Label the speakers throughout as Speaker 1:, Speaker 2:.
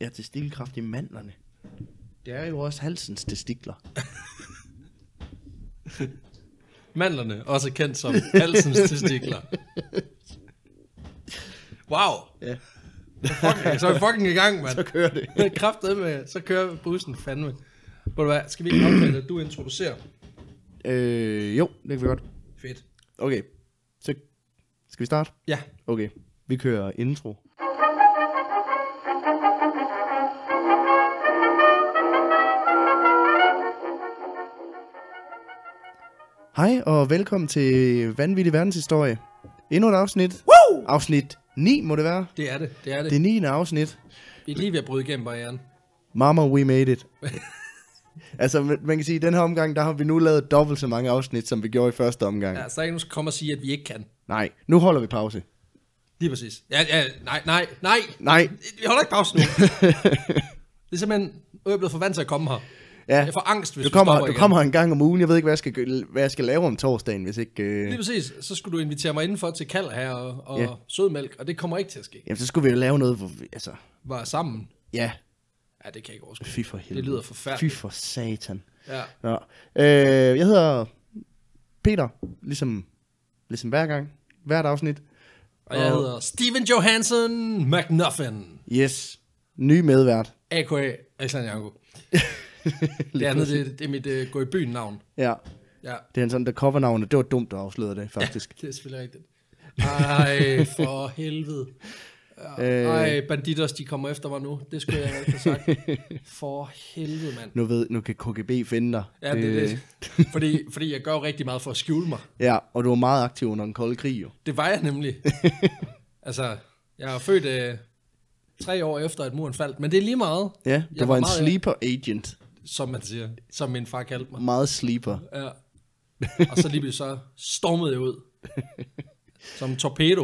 Speaker 1: er testikkelkræft i mandlerne. Det er jo også halsens testikler.
Speaker 2: Mandlerne, også kendt som halsens testikler. Wow.
Speaker 1: Ja.
Speaker 2: Fuck, så er vi fucking i gang, mand.
Speaker 1: Så kører det.
Speaker 2: Kraft med, så kører bussen fandme. Ved du hvad, skal vi ikke aftale, at du introducerer?
Speaker 1: Øh, jo, det kan vi godt.
Speaker 2: Fedt.
Speaker 1: Okay, så skal vi starte?
Speaker 2: Ja.
Speaker 1: Okay, vi kører intro. Hej og velkommen til Vanvittig Verdenshistorie. Endnu et afsnit. Woo! Afsnit 9 må det være.
Speaker 2: Det er det, det er det.
Speaker 1: Det 9. afsnit.
Speaker 2: Vi er lige ved at bryde igennem barrieren.
Speaker 1: Mama, we made it. altså, man man kan sige, at den her omgang, der har vi nu lavet dobbelt så mange afsnit, som vi gjorde i første omgang. Ja.
Speaker 2: Ja, så er der ikke nogen, der skal komme og sige, at vi ikke kan.
Speaker 1: Nej, nu holder vi pause.
Speaker 2: Lige præcis. Ja, ja, nej, nej, nej.
Speaker 1: Nej,
Speaker 2: Vi holder ikke pause nu. det er simpelthen, øh, jeg er blevet for vant til at komme her.
Speaker 1: ja.
Speaker 2: Jeg får angst, hvis
Speaker 1: du kommer,
Speaker 2: stopper
Speaker 1: du
Speaker 2: igen.
Speaker 1: kommer en gang om ugen. Jeg ved ikke, hvad jeg skal, gø- hvad jeg skal lave om torsdagen, hvis ikke... Øh...
Speaker 2: Lige præcis, så skulle du invitere mig indenfor til kald her og, og
Speaker 1: Ja.
Speaker 2: sødmælk, og det kommer ikke til at ske.
Speaker 1: Jamen, så skulle vi jo lave noget, hvor vi, altså...
Speaker 2: Var sammen.
Speaker 1: Ja,
Speaker 2: Ja, det kan jeg ikke overskue.
Speaker 1: fy for helvede.
Speaker 2: lyder forfærdeligt.
Speaker 1: Fy for satan.
Speaker 2: Ja.
Speaker 1: Nå. Øh, jeg hedder Peter, ligesom, ligesom hver gang, hvert afsnit.
Speaker 2: Og jeg hedder Steven Johansen McNuffin,
Speaker 1: Yes, ny medvært.
Speaker 2: a.k.a. Alexander Janko. Det andet, det, det er mit uh, gå i byen navn.
Speaker 1: Ja,
Speaker 2: Ja,
Speaker 1: det er en sådan, der cover navnet. Det var dumt, at afsløre det, faktisk.
Speaker 2: det er selvfølgelig rigtigt. Ej, for helvede.
Speaker 1: Øh.
Speaker 2: Ej, banditers, de kommer efter mig nu. Det skulle jeg ikke have sagt. For helvede, mand.
Speaker 1: Nu, ved, nu kan KGB finde dig. Øh,
Speaker 2: Ja, det er det. Fordi, fordi jeg gør jo rigtig meget for at skjule mig.
Speaker 1: Ja, og du var meget aktiv under den kolde krig, jo.
Speaker 2: Det var jeg nemlig. altså, jeg er født øh, tre år efter, at muren faldt, men det er lige meget,
Speaker 1: Ja, du
Speaker 2: Jeg
Speaker 1: var,
Speaker 2: var
Speaker 1: en
Speaker 2: meget-
Speaker 1: sleeper agent.
Speaker 2: som man siger, som min far kaldte mig.
Speaker 1: Meget sleeper.
Speaker 2: Ja. Og så lige pludselig så stormede jeg ud, som en torpedo.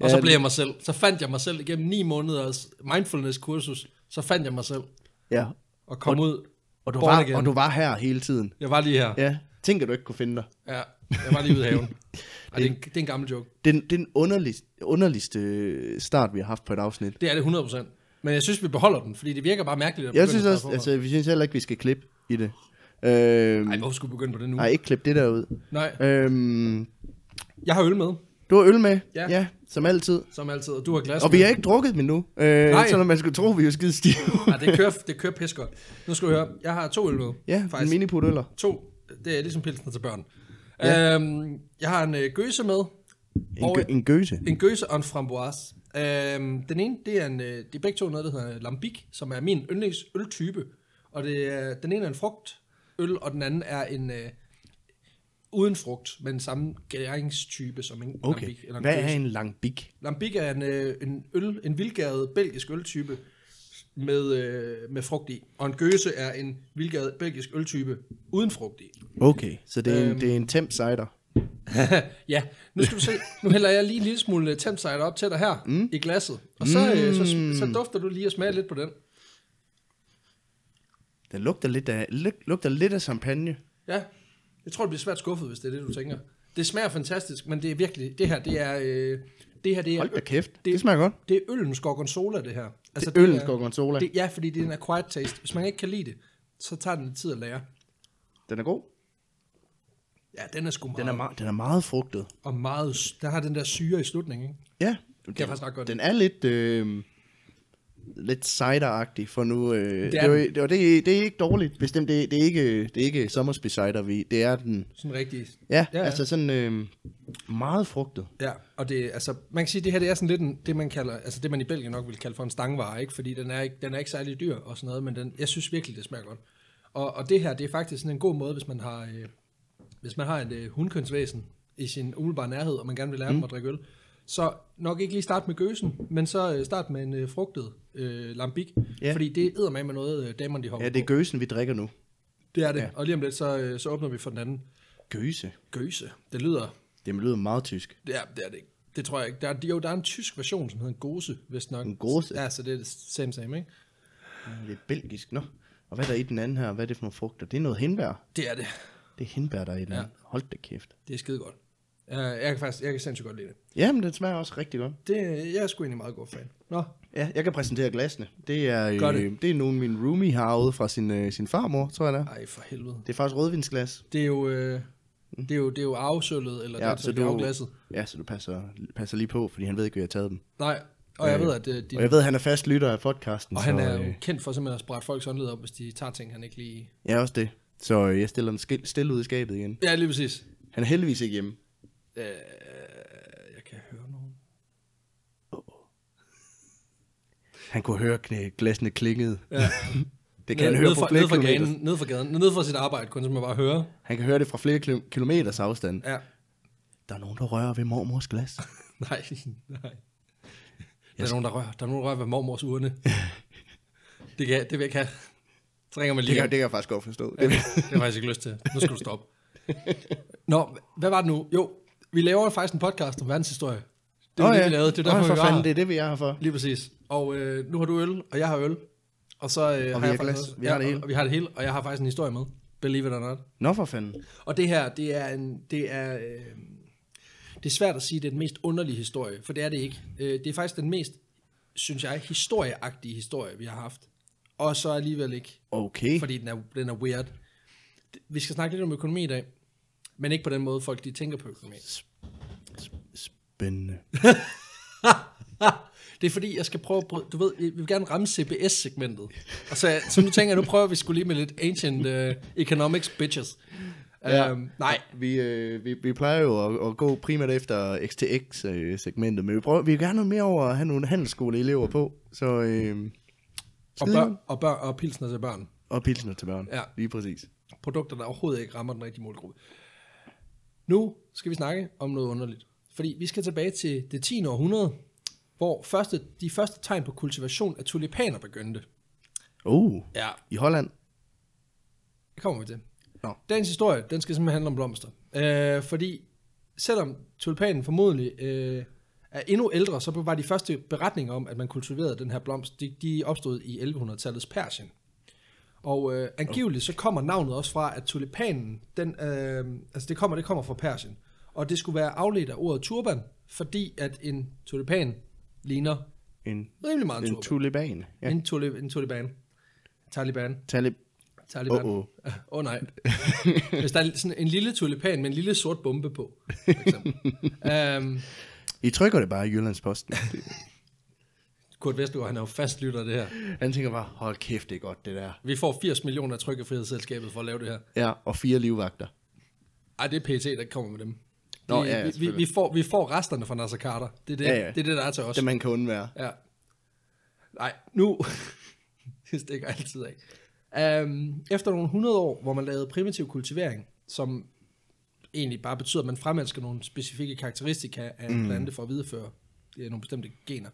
Speaker 2: Og så
Speaker 1: Ja,
Speaker 2: blev jeg mig selv. Så fandt jeg mig selv igennem ni måneders mindfulness-kursus, så fandt jeg mig selv
Speaker 1: Ja,
Speaker 2: og kom ud.
Speaker 1: og du,
Speaker 2: born
Speaker 1: var,
Speaker 2: again.
Speaker 1: og du var her hele tiden.
Speaker 2: Jeg var lige her. Ja,
Speaker 1: Ja, tænk, at du ikke kunne finde dig.
Speaker 2: jeg var lige ude i haven. Ej, det, er en, det er en gammel joke.
Speaker 1: Det er, den- det er den underligste, underligste øh, start, vi har haft på et afsnit.
Speaker 2: Det er det 100%. Men jeg synes, vi beholder den, fordi det virker bare mærkeligt at
Speaker 1: Jeg
Speaker 2: begynde
Speaker 1: synes
Speaker 2: at
Speaker 1: også,
Speaker 2: snakke om
Speaker 1: altså, vi synes heller ikke, vi skal klippe i det. Øhm,
Speaker 2: det. Ej, hvorfor skulle vi begynde på det nu?
Speaker 1: nej, ikke klippe det der ud.
Speaker 2: Nej,
Speaker 1: Øhm,
Speaker 2: jeg har øl med,
Speaker 1: du har øl med,
Speaker 2: Ja.
Speaker 1: ja. ja, som altid.
Speaker 2: som altid, og du har glas
Speaker 1: Og
Speaker 2: med.
Speaker 1: vi har ikke drukket dem endnu, øh,
Speaker 2: Nej.
Speaker 1: selvom man skulle tro, vi er skide stive.
Speaker 2: Nej, det kører, det kører pis godt. Nu skal du høre, jeg har to øl med.
Speaker 1: ja, en
Speaker 2: faktisk.
Speaker 1: miniputøller.
Speaker 2: To. Det er ligesom pilsner til børn. Ja. Øhm, jeg har en øh, gøse med.
Speaker 1: En,
Speaker 2: Og
Speaker 1: gø- en gøse.
Speaker 2: en gøse og en framboise. Øhm, den ene, det er en, øh, de er begge to noget, der hedder Lambic, som er min yndlingsøltype. Og det er, den ene er en frugtøl, og den anden er en øh, uden frugt, men samme gæringstype som en
Speaker 1: Okay,
Speaker 2: Lambic. Eller en
Speaker 1: hvad
Speaker 2: gøse.
Speaker 1: er en lang bik?
Speaker 2: Lambic er en, øh, en øl, en vildgæret belgisk øltype med, øh, med frugt i. Og en gøse er en vildgæret belgisk øltype uden frugt i.
Speaker 1: Okay, så det er
Speaker 2: Øhm.
Speaker 1: en, det er en temp cider.
Speaker 2: ja, nu skal du se. Nu hælder jeg lige en lille smule øh, Thamesider op til dig her mm. i glasset. Og så, øh, så,
Speaker 1: Mm.
Speaker 2: så dufter du lige og smager lidt på den.
Speaker 1: Den lugter lidt af, lug- lugter lidt af champagne.
Speaker 2: Ja, jeg tror, det bliver svært skuffet, hvis det er det, du tænker. Det smager fantastisk, men det er virkelig, det her, det er, øh, det her, det er,
Speaker 1: Hold da kæft, det,
Speaker 2: det-
Speaker 1: det smager godt.
Speaker 2: det er øllens gorgonzola, det her. Altså,
Speaker 1: Det er øllens
Speaker 2: er-
Speaker 1: gorgonzola.
Speaker 2: Det, ja, fordi det er en acquired taste. Hvis man ikke kan lide det, så tager den lidt tid at lære.
Speaker 1: Den er god.
Speaker 2: Ja, den er sgu meget.
Speaker 1: Den er, meget, den er meget frugtet.
Speaker 2: og meget, s- der har den der syre i slutningen, ikke?
Speaker 1: Ja, den,
Speaker 2: jeg faktisk ret godt
Speaker 1: Den er lidt, øh, lidt cider-agtig, for nu... Øh, det,
Speaker 2: er
Speaker 1: er det, det, var, det, det er ikke dårligt, bestemt. Det, det er ikke, det er ikke Sommersby cider, vi, det er den...
Speaker 2: Sådan rigtig.
Speaker 1: Ja,
Speaker 2: Ja,
Speaker 1: ja,
Speaker 2: ja.
Speaker 1: altså sådan øh, meget frugtet.
Speaker 2: Ja, og det, altså, man kan sige, at det her det er sådan lidt en, det, man kalder, altså det man i Belgien nok vil kalde for en stangvare, ikke? fordi den er ikke, den er ikke særlig dyr og sådan noget, men den, jeg synes virkelig, det smager godt. Og, og det her, det er faktisk sådan en god måde, hvis man har, øh, hvis man har et øh, hundkønsvæsen i sin umiddelbare nærhed, og man gerne vil lære
Speaker 1: Mm.
Speaker 2: dem at drikke øl, så nok ikke lige start med gøsen, men så øh, start med en øh, frugtet øh, lambic, ja.
Speaker 1: Ja.
Speaker 2: fordi det æder med med noget, øh, damerne de hopper
Speaker 1: Ja, det er
Speaker 2: på.
Speaker 1: gøsen, vi drikker nu.
Speaker 2: det er det. Ja. Og lige om lidt, så, øh, så åbner vi for den anden.
Speaker 1: Gøse.
Speaker 2: Gøse. Det lyder
Speaker 1: Det lyder meget tysk.
Speaker 2: Ja, det er det ikke. Det tror jeg ikke. Der er, jo, der er en tysk version, som hedder en gose, hvis nok.
Speaker 1: En gose?
Speaker 2: Ja, så det er det same same, ikke?
Speaker 1: Det er belgisk, nå. Og hvad er der i den anden her? Hvad er det for nogle frugter? Det er noget hindbær.
Speaker 2: Det er det.
Speaker 1: Det er hindbær, der er i den anden. Hold da kæft.
Speaker 2: Det er skide godt. Uh, jeg kan faktisk, jeg kan sindssygt godt lide det.
Speaker 1: Jamen, den smager også rigtig godt.
Speaker 2: det jeg er sgu egentlig meget god fan. Nå,
Speaker 1: Ja, jeg kan præsentere glasene. Det er,
Speaker 2: Gør
Speaker 1: øh,
Speaker 2: det.
Speaker 1: det. det er nogle min roomie har arvet fra sin, øh, sin farmor, tror jeg det er.
Speaker 2: ej for helvede.
Speaker 1: Det er faktisk rødvinsglas.
Speaker 2: Det er jo, øh, det er jo, det er jo arvesølvet, eller ja, det, så det er afglasset.
Speaker 1: Ja, så du passer, passer lige på, fordi han ved ikke, at jeg har taget dem.
Speaker 2: Nej, og jeg
Speaker 1: Øh,
Speaker 2: ved, at øh, de,
Speaker 1: Og jeg ved, at han er fast lytter af podcasten.
Speaker 2: og han
Speaker 1: så,
Speaker 2: er jo
Speaker 1: øh,
Speaker 2: kendt for simpelthen at sprætte folks åndled op, hvis de tager ting, han ikke lige...
Speaker 1: Ja, også det. Så øh, jeg stiller ham skil- stille ud i skabet igen.
Speaker 2: Ja, lige præcis.
Speaker 1: Han er heldigvis ikke hjemme.
Speaker 2: Øh, jeg kan høre nogen.
Speaker 1: Han kunne høre knæ, glasene klingede.
Speaker 2: Ja.
Speaker 1: Det kan han høre på
Speaker 2: fra,
Speaker 1: flere
Speaker 2: ned fra
Speaker 1: kilometer.
Speaker 2: gaden, ned fra gaden, ned fra sit arbejde, kunne man bare høre.
Speaker 1: Han kan høre det fra flere kilo- kilometers afstand.
Speaker 2: Ja.
Speaker 1: Der er nogen, der rører ved mormors glas.
Speaker 2: Nej, nej. Der er nogen, der rører, der er nogen, der rører ved mormors urne. det, kan, det vil jeg ikke have. Så ringer
Speaker 1: Det
Speaker 2: man lige.
Speaker 1: kan,
Speaker 2: op.
Speaker 1: det kan jeg faktisk godt forstå. Det,
Speaker 2: Det har jeg faktisk ikke lyst til. Nu skal du stoppe. Nå, hvad var det nu? Jo, vi laver faktisk en podcast om verdenshistorie. Det var
Speaker 1: Åh
Speaker 2: det, vi lavede. Det var
Speaker 1: Åh,
Speaker 2: derfor,
Speaker 1: for
Speaker 2: vi var
Speaker 1: fanden, det
Speaker 2: her.
Speaker 1: er det, vi er her for.
Speaker 2: Lige præcis. Og øh, nu har du øl, og jeg har øl. Og så øh, og har
Speaker 1: har
Speaker 2: jeg faktisk
Speaker 1: glas.
Speaker 2: noget-
Speaker 1: Vi har det hele.
Speaker 2: Og, og vi har det hele, og jeg har faktisk en historie med. Believe it or not.
Speaker 1: Nå for fanden.
Speaker 2: Og det her, det er en, det er, øh, det er svært at sige, det er den mest underlige historie, for det er det ikke. Øh, det er faktisk den mest, synes jeg, historieagtige historie, vi har haft. Og så alligevel ikke,
Speaker 1: Okay.
Speaker 2: fordi den er, den er weird. Vi skal snakke lidt om økonomi i dag, men ikke på den måde, folk de tænker på økonomi.
Speaker 1: Spændende.
Speaker 2: Det er fordi, jeg skal prøve at bryde, du ved, vi vil gerne ramme CBS-segmentet. Og så, så nu tænker jeg, nu prøver vi skulle lige med lidt ancient uh, economics bitches. Ja.
Speaker 1: Ja.
Speaker 2: Um, nej,
Speaker 1: Vi, øh, vi, vi plejer jo at, at gå primært efter XTX-segmentet, øh, men vi, prøver, vi vil gerne noget mere over at have nogle handelsskoleelever på, så øh,
Speaker 2: og, børn, og, børn, og pilsner til børn.
Speaker 1: og pilsner til børn.
Speaker 2: Ja.
Speaker 1: Lige præcis.
Speaker 2: produkter, der overhovedet ikke rammer den rigtige målgruppe. Nu skal vi snakke om noget underligt. Fordi vi skal tilbage til det 10. århundrede, hvor første, de første tegn på kultivation af tulipaner begyndte.
Speaker 1: Uh,
Speaker 2: Ja,
Speaker 1: i Holland.
Speaker 2: det kommer vi til.
Speaker 1: Nå.
Speaker 2: Dagens historie, den skal simpelthen handle om blomster. Øh, fordi selvom tulipanen formodentlig øh, er endnu ældre, så var de første beretninger om, at man kultiverede den her blomst, de, de opstod i 1100-tallets Persien. Og øh, angiveligt så kommer navnet også fra, at tulipanen, den, øh, altså det kommer, det kommer fra Persien. Og det skulle være afledt af ordet turban, fordi at en tulipan ligner
Speaker 1: En,
Speaker 2: rimelig meget en
Speaker 1: en
Speaker 2: turban.
Speaker 1: tulipan. Ja.
Speaker 2: En, tulip, en tulipan. Taliban.
Speaker 1: Talib.
Speaker 2: Taliban.
Speaker 1: Uh-oh.
Speaker 2: Åh oh, oh. oh, nej. Hvis der er sådan en lille tulipan med en lille sort bombe på, for eksempel. um,
Speaker 1: I trykker det bare i Jyllandsposten.
Speaker 2: Kurt Vestergaard, han er jo fast lytter af det her.
Speaker 1: Han tænker bare, hold kæft, det er godt, det der.
Speaker 2: Vi får 80 millioner af trykkefrihedsselskabet for at lave det her.
Speaker 1: Ja, og fire livvagter.
Speaker 2: Ej, det er PT, der kommer med dem.
Speaker 1: Nå,
Speaker 2: vi,
Speaker 1: ja, ja,
Speaker 2: vi- vi, vi,
Speaker 1: selvfølgelig.
Speaker 2: får, vi får resterne fra Nasser Carter. Det er det,
Speaker 1: Ja, ja.
Speaker 2: Det, er det der er til os.
Speaker 1: Det man kan undvære.
Speaker 2: Ja. Nej, nu... det stikker altid af. Um, efter nogle 100 år, hvor man lavede primitiv kultivering, som egentlig bare betyder, at man fremelsker nogle specifikke karakteristika af en plante for at videreføre ja, nogle bestemte gener,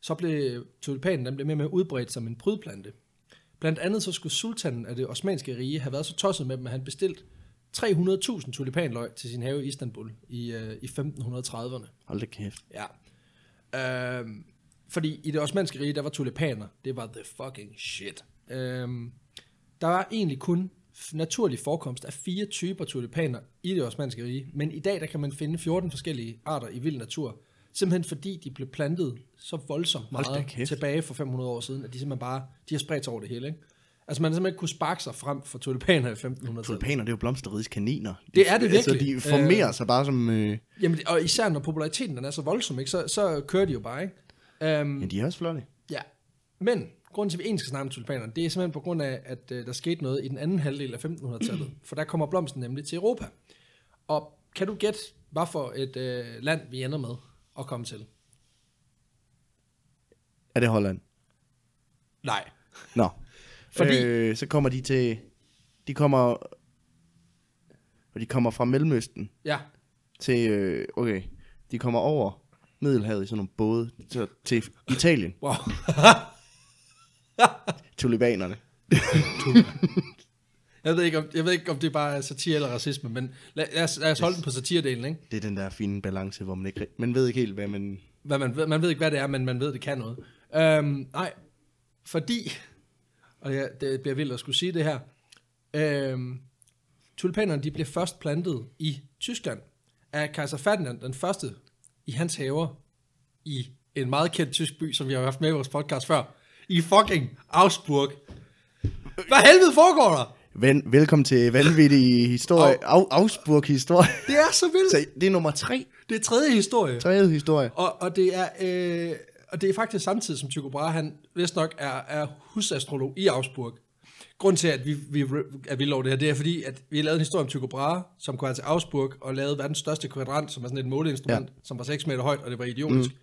Speaker 2: så blev tulipanen den blev mere og mere udbredt som en prydplante. Blandt andet så skulle sultanen af det osmanske rige have været så tosset med dem, at han bestilte 300.000 tulipanløg til sin have i Istanbul i, øh, i 1530'erne.
Speaker 1: Hold da kæft.
Speaker 2: Ja. Øhm, fordi i det osmanske rige, der var tulipaner. Det var the fucking shit. Øhm, der var egentlig kun f- naturlig forekomst af fire typer tulipaner i det osmanske rige, men i dag der kan man finde 14 forskellige arter i vild natur, simpelthen fordi de blev plantet så voldsomt
Speaker 1: Hold da
Speaker 2: meget
Speaker 1: kæft.
Speaker 2: tilbage for 500 år siden, at de simpelthen bare de har spredt sig over det hele. Ikke? Altså man har simpelthen ikke kunne sparke sig frem for tulipaner i 1500-tallet.
Speaker 1: Tulipaner, det er jo blomsterrides kaniner.
Speaker 2: Det er det
Speaker 1: Altså,
Speaker 2: virkelig.
Speaker 1: de formerer øh... sig bare som... Øh...
Speaker 2: Jamen, og især når populariteten den er så voldsom, ikke? Så, så kører de jo bare. Ikke? Um,
Speaker 1: Ja, de er også flotte.
Speaker 2: Ja, men grunden til, at vi egentlig skal snakke om tulipanerne, det er simpelthen på grund af, at øh, der skete noget i den anden halvdel af 1500-tallet, for der kommer blomsten nemlig til Europa. Og kan du gætte, hvad for et øh, land vi ender med at komme til?
Speaker 1: Er det Holland?
Speaker 2: Nej.
Speaker 1: Nå.
Speaker 2: Fordi-
Speaker 1: Fordi... Øh, så kommer de til... De kommer... Og de kommer fra Mellemøsten
Speaker 2: Ja,
Speaker 1: til... Øh, okay. De kommer over Middelhavet i sådan nogle både til, til Italien.
Speaker 2: wow.
Speaker 1: Tulipanerne.
Speaker 2: Jeg ved, ikke, om, jeg ved ikke, om det bare er satire eller racisme, men lad, lad, os, lad os holde den på satiredelen, ikke?
Speaker 1: Det er den der fine balance, hvor man ikke... ri- Man ved ikke helt, hvad man...
Speaker 2: Hvad man, ved, man ved ikke, hvad det er, men man ved, det kan noget. Øhm, nej, fordi, og ja, det bliver vildt at skulle sige det her, øhm, tulipanerne de blev først plantet i Tyskland af kejser Ferdinand den første i hans haver i en meget kendt tysk by, som vi har haft med i vores podcast før, i fucking Augsburg. Hvad helvede foregår der?
Speaker 1: Ven, velkommen til vanvittig historie. Au, Augsburg-historie.
Speaker 2: Det er så vildt.
Speaker 1: Så det er nummer tre.
Speaker 2: Det er tredje historie.
Speaker 1: Tredje historie.
Speaker 2: Og, og, det er, øh, og det er faktisk samtidig som Tycho Brahe, han vist nok er, er husastrolog i Augsburg. Grund til, at vi, vi, at vi lov det her, det er fordi, at vi lavede en historie om Tycho Brahe, som kom til Augsburg og lavede verdens største kvadrant, som er sådan et måleinstrument, ja. som var 6 meter højt, og det var idiotisk. Mm.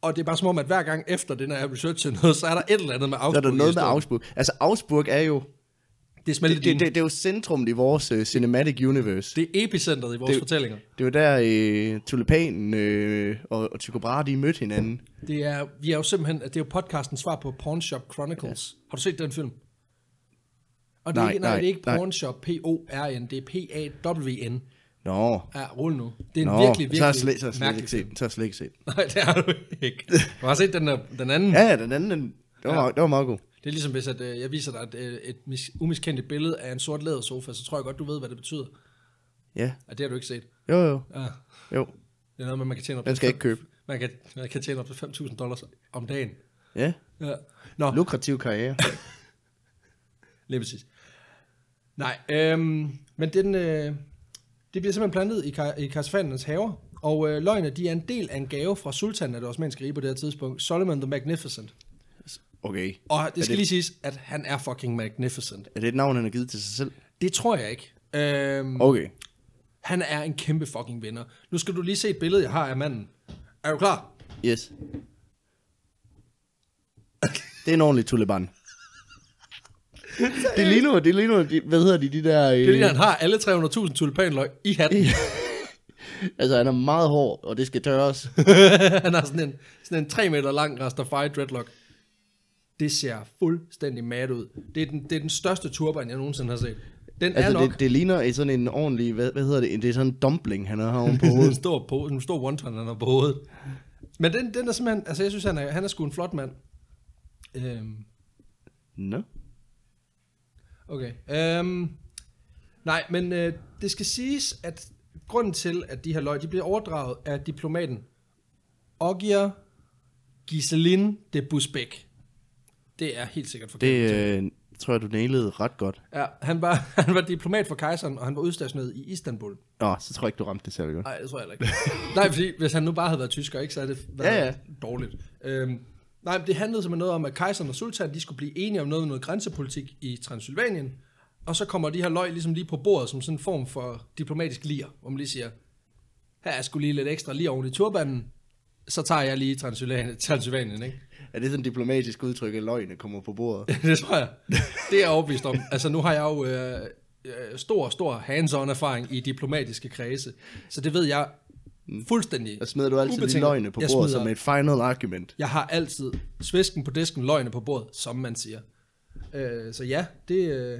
Speaker 2: Og det er bare som om, at hver gang efter den her research er noget, så er der et eller andet med
Speaker 1: Så er
Speaker 2: Augsburg.
Speaker 1: der
Speaker 2: i
Speaker 1: noget med
Speaker 2: historien.
Speaker 1: Augsburg. Altså, Augsburg er jo...
Speaker 2: Det er
Speaker 1: Det, det,
Speaker 2: smeltet
Speaker 1: det, det er jo centrum i vores uh, cinematic universe.
Speaker 2: det er epicentret i vores
Speaker 1: det-
Speaker 2: det, fortællinger.
Speaker 1: Det var der, øh, Tulipanen øh, og, og Tycho Brahe, de mødte hinanden.
Speaker 2: Det er, vi er jo simpelthen, det er jo podcastens svar på Pawn Shop Chronicles. Ja. Har du set den film? Og det er
Speaker 1: Nej,
Speaker 2: ikke, nej,
Speaker 1: nej,
Speaker 2: det er ikke
Speaker 1: nej.
Speaker 2: Pawn Shop, P-O-R-N, det er P-A-W-N.
Speaker 1: Nå,
Speaker 2: Ja, rul nu. Det er en
Speaker 1: Nå
Speaker 2: Nå, virkelig,
Speaker 1: så har jeg
Speaker 2: virkelig
Speaker 1: slet, så har jeg slet
Speaker 2: mærkelig
Speaker 1: ikke set den. Så har jeg slet ikke set den.
Speaker 2: film. Nej, det har du ikke. Du har set den, der, den anden. Ja.
Speaker 1: Ja, ja, den anden, den, det, var, ja. det var meget god.
Speaker 2: Det er ligesom hvis at, øh, jeg viser dig et, øh, et mis, umiskendt billede af en sort lædersofa, så tror jeg godt, du ved, hvad det betyder.
Speaker 1: Ja,
Speaker 2: Og det har du ikke set.
Speaker 1: jo jo,
Speaker 2: Ja.
Speaker 1: jo.
Speaker 2: Det er noget med, man kan tjene op
Speaker 1: Den
Speaker 2: til
Speaker 1: skal jeg
Speaker 2: fem-
Speaker 1: ikke købe.
Speaker 2: Man kan, man kan tjene op til 5.000 dollars om dagen.
Speaker 1: Ja,
Speaker 2: Ja. Nå,
Speaker 1: lukrativ karriere.
Speaker 2: Lige præcis. Nej, øhm, men den, øh, det bliver simpelthen plantet i, kar- i karsafanernes haver, og øh, løgne, de er en del af en gave fra sultanen af det osmanske rige på det her tidspunkt, Solomon the Magnificent.
Speaker 1: Okay.
Speaker 2: Og det skal
Speaker 1: det-
Speaker 2: det... lige siges, at han er fucking magnificent.
Speaker 1: Er det et navn, han har givet til sig selv?
Speaker 2: Det tror jeg ikke. Øhm,
Speaker 1: Okay.
Speaker 2: Han er en kæmpe fucking vinder. Nu skal du lige se et billede, jeg har af manden. Er du klar?
Speaker 1: Yes. Det er en ordentlig tulipan. det ligner, det ligner, de, hvad hedder de, de der... Øh,
Speaker 2: Det er lige, han har alle 300.000 tulipanløg i hatten.
Speaker 1: altså, han er meget hård, og det skal tørres.
Speaker 2: han har sådan en, sådan en 3 meter lang Rastafari dreadlock. Det ser fuldstændig mad ud. Det er den, det er den største turban, jeg nogensinde har set. Den altså, er
Speaker 1: altså,
Speaker 2: nok
Speaker 1: det, det ligner en- sådan en ordentlig, hvad, hvad hedder det, en- det er sådan en dumpling, han har herovre på
Speaker 2: en
Speaker 1: hovedet.
Speaker 2: stor, på, en stor wonton, han har på hovedet. Men den, den er simpelthen, altså jeg synes, han er, han er sgu en flot mand. Øhm,
Speaker 1: Nå.
Speaker 2: okay. Øhm, nej, men øh, det skal siges, at grunden til, at de her løg, de bliver overdraget af diplomaten Ogier Giselin de Busbæk. Det er helt sikkert forkert.
Speaker 1: Det øh, tror jeg, du nailede ret godt.
Speaker 2: Ja, han var, han var diplomat for kejseren, og han var udstationeret i Istanbul.
Speaker 1: Nå, så tror jeg ikke, du ramte det særlig godt.
Speaker 2: Nej, det tror jeg heller ikke. nej, fordi hvis han nu bare havde været tysker, ikke, så havde det været
Speaker 1: Ja,
Speaker 2: ja,
Speaker 1: ja.
Speaker 2: ja. dårligt. Øhm, nej, men det handlede simpelthen noget om, at kejseren og sultanen, de skulle blive enige om noget med noget grænsepolitik i Transylvanien. Og så kommer de her løg ligesom lige på bordet som sådan en form for diplomatisk lir, hvor man lige siger, her er sgu lige lidt ekstra lige oven i turbanen, så tager jeg lige Transylvanien, Transylvanien ikke?
Speaker 1: Er det sådan et diplomatisk udtryk, at løgne kommer på bordet?
Speaker 2: det tror jeg. Det er jeg overbevist om. Altså, nu har jeg jo øh, øh, stor, stor hands-on erfaring i diplomatiske kredse, så det ved jeg fuldstændig.
Speaker 1: Og smider du altid lige
Speaker 2: ubetinget.
Speaker 1: løgne på
Speaker 2: jeg
Speaker 1: bordet
Speaker 2: smider-
Speaker 1: som et final argument?
Speaker 2: Jeg har altid svisken på disken, løgne på bordet, som man siger. Øh, så ja, det, øh,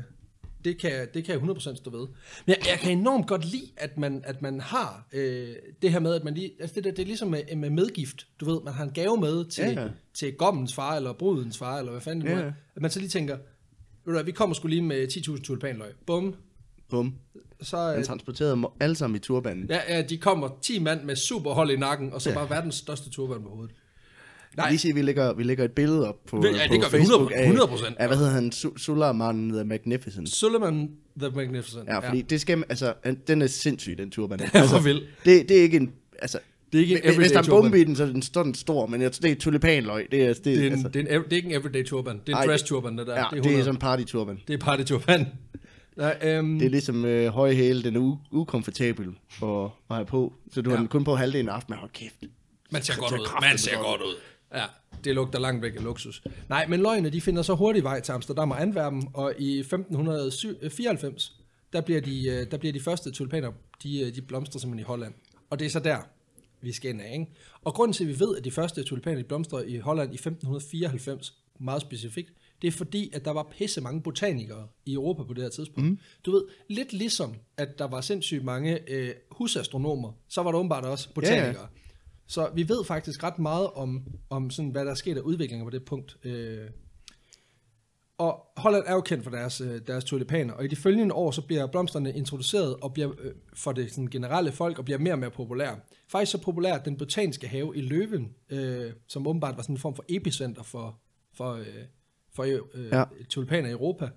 Speaker 2: det, kan, jeg- det kan jeg 100% stå ved. Men jeg, jeg kan enormt godt lide, at man, at man har øh, det her med, at man lige, altså det, der, det er ligesom med, med medgift. Du ved, man har en gave med til,
Speaker 1: Ja, ja.
Speaker 2: ja. til gommens far, eller brudens far, eller hvad fanden det nu
Speaker 1: Ja.
Speaker 2: er. At man så lige tænker, ved du hvad, vi kommer sgu lige med 10.000 tulipanløg. Bum.
Speaker 1: Bum.
Speaker 2: Så,
Speaker 1: Han
Speaker 2: øh,
Speaker 1: transporterede dem alle sammen i turbanen.
Speaker 2: ja, ja, de kommer 10 mand med super hold i nakken, og så bare verdens største turban på hovedet.
Speaker 1: Nej. Lige sige, vi lægger, vi lægger et billede op på,
Speaker 2: Ja, det
Speaker 1: på
Speaker 2: gør vi
Speaker 1: Facebook
Speaker 2: 100%, 100%.
Speaker 1: af, af, hvad hedder han, Su- Suleiman the Magnificent.
Speaker 2: Suleiman the Magnificent.
Speaker 1: Ja, fordi ja. det skal, man- altså, han- den er sindssyg, den turban. Den
Speaker 2: er
Speaker 1: altså,
Speaker 2: for vild.
Speaker 1: Det, det er ikke en, altså,
Speaker 2: Det er ikke en
Speaker 1: hvis- hvis der er en
Speaker 2: everyday
Speaker 1: bombe i den, så er den, så er den stor, men jeg, det er tulipanløg. Det er, det,
Speaker 2: Det er, en,
Speaker 1: altså,
Speaker 2: det, er en, ev- det er ikke en everyday turban. Det er en
Speaker 1: Ej,
Speaker 2: Ej,
Speaker 1: det-
Speaker 2: dress turban, det der.
Speaker 1: ja,
Speaker 2: det, er
Speaker 1: det er ligesom-
Speaker 2: som...
Speaker 1: sådan en party-turban.
Speaker 2: det er party turban. Nej, øhm,
Speaker 1: Det er ligesom øh, høje hæle, den er u- ukomfortabel at, at have på. Så du ja. har den kun på halvdelen af aftenen, hold kæft.
Speaker 2: man ser godt
Speaker 1: ser
Speaker 2: ud.
Speaker 1: kraftedeme
Speaker 2: Man ser
Speaker 1: godt
Speaker 2: godt ud. Ja, det lugter langt væk af luksus. Nej, men løgne, de finder så hurtig vej til Amsterdam og Antwerpen, og i 1594, der bliver de, øh, der bliver de første tulipaner, de, øh, de blomstrer simpelthen i Holland. Og det er så der, vi skal ind af, ikke? Og grunden til, at vi ved, at de første tulipaner de blomstrer i Holland i 1594, meget specifikt, det er fordi, at der var pisse mange botanikere i Europa på det her tidspunkt. Mm. Du ved, lidt ligesom, at der var sindssygt mange øh, husastronomer, så var der åbenbart også botanikere.
Speaker 1: ja.
Speaker 2: Så vi ved faktisk ret meget om, om sådan, hvad der er sket af udviklinger på det punkt. Øh, Og Holland er jo kendt for deres, øh, deres tulipaner, og i de følgende år, så bliver blomsterne introduceret og bliver øh, for det sådan, generelle folk, og bliver mere og mere populære. Faktisk så populær, at den botaniske have i Løven, øh, som åbenbart var sådan en form for epicenter for, for, øh, for øh, ja.
Speaker 1: Ja.
Speaker 2: tulipaner i Europa,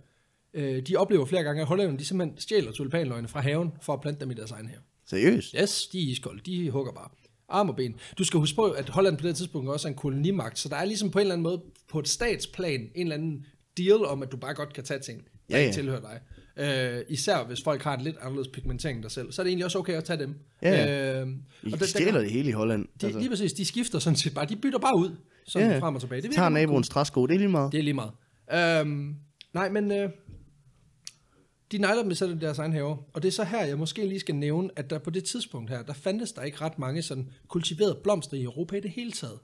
Speaker 2: øh, de oplever flere gange, at hollænderne de simpelthen stjæler tulipanløgene fra haven, for at plante dem i deres egen have.
Speaker 1: Seriøst?
Speaker 2: Yes, de er iskolde. De hugger bare. Arm og ben. Du skal huske på, at Holland på det tidspunkt også er en kolonimagt, så der er ligesom på en eller anden måde, på et statsplan, en eller anden deal om, at du bare godt kan tage ting, der
Speaker 1: Ja,
Speaker 2: ikke
Speaker 1: ja.
Speaker 2: tilhører dig. Øh, især hvis folk har en lidt anderledes pigmentering end dig selv, så er det egentlig også okay at tage dem.
Speaker 1: Ja,
Speaker 2: Øh,
Speaker 1: I
Speaker 2: der- der-
Speaker 1: stjæler det hele i Holland.
Speaker 2: de, altså. Lige præcis, de skifter sådan set bare. De bytter bare ud, sådan
Speaker 1: Ja,
Speaker 2: yeah.
Speaker 1: ja.
Speaker 2: frem og tilbage. Det virker
Speaker 1: Tager
Speaker 2: meget
Speaker 1: naboens træsko, det er lige meget.
Speaker 2: det er lige meget. Øhm, nej, men øh, de nejler dem selv i deres egen have. Og det er så her, jeg måske lige skal nævne, at der på det tidspunkt her, der fandtes der ikke ret mange sådan kultiverede blomster i Europa i det hele taget.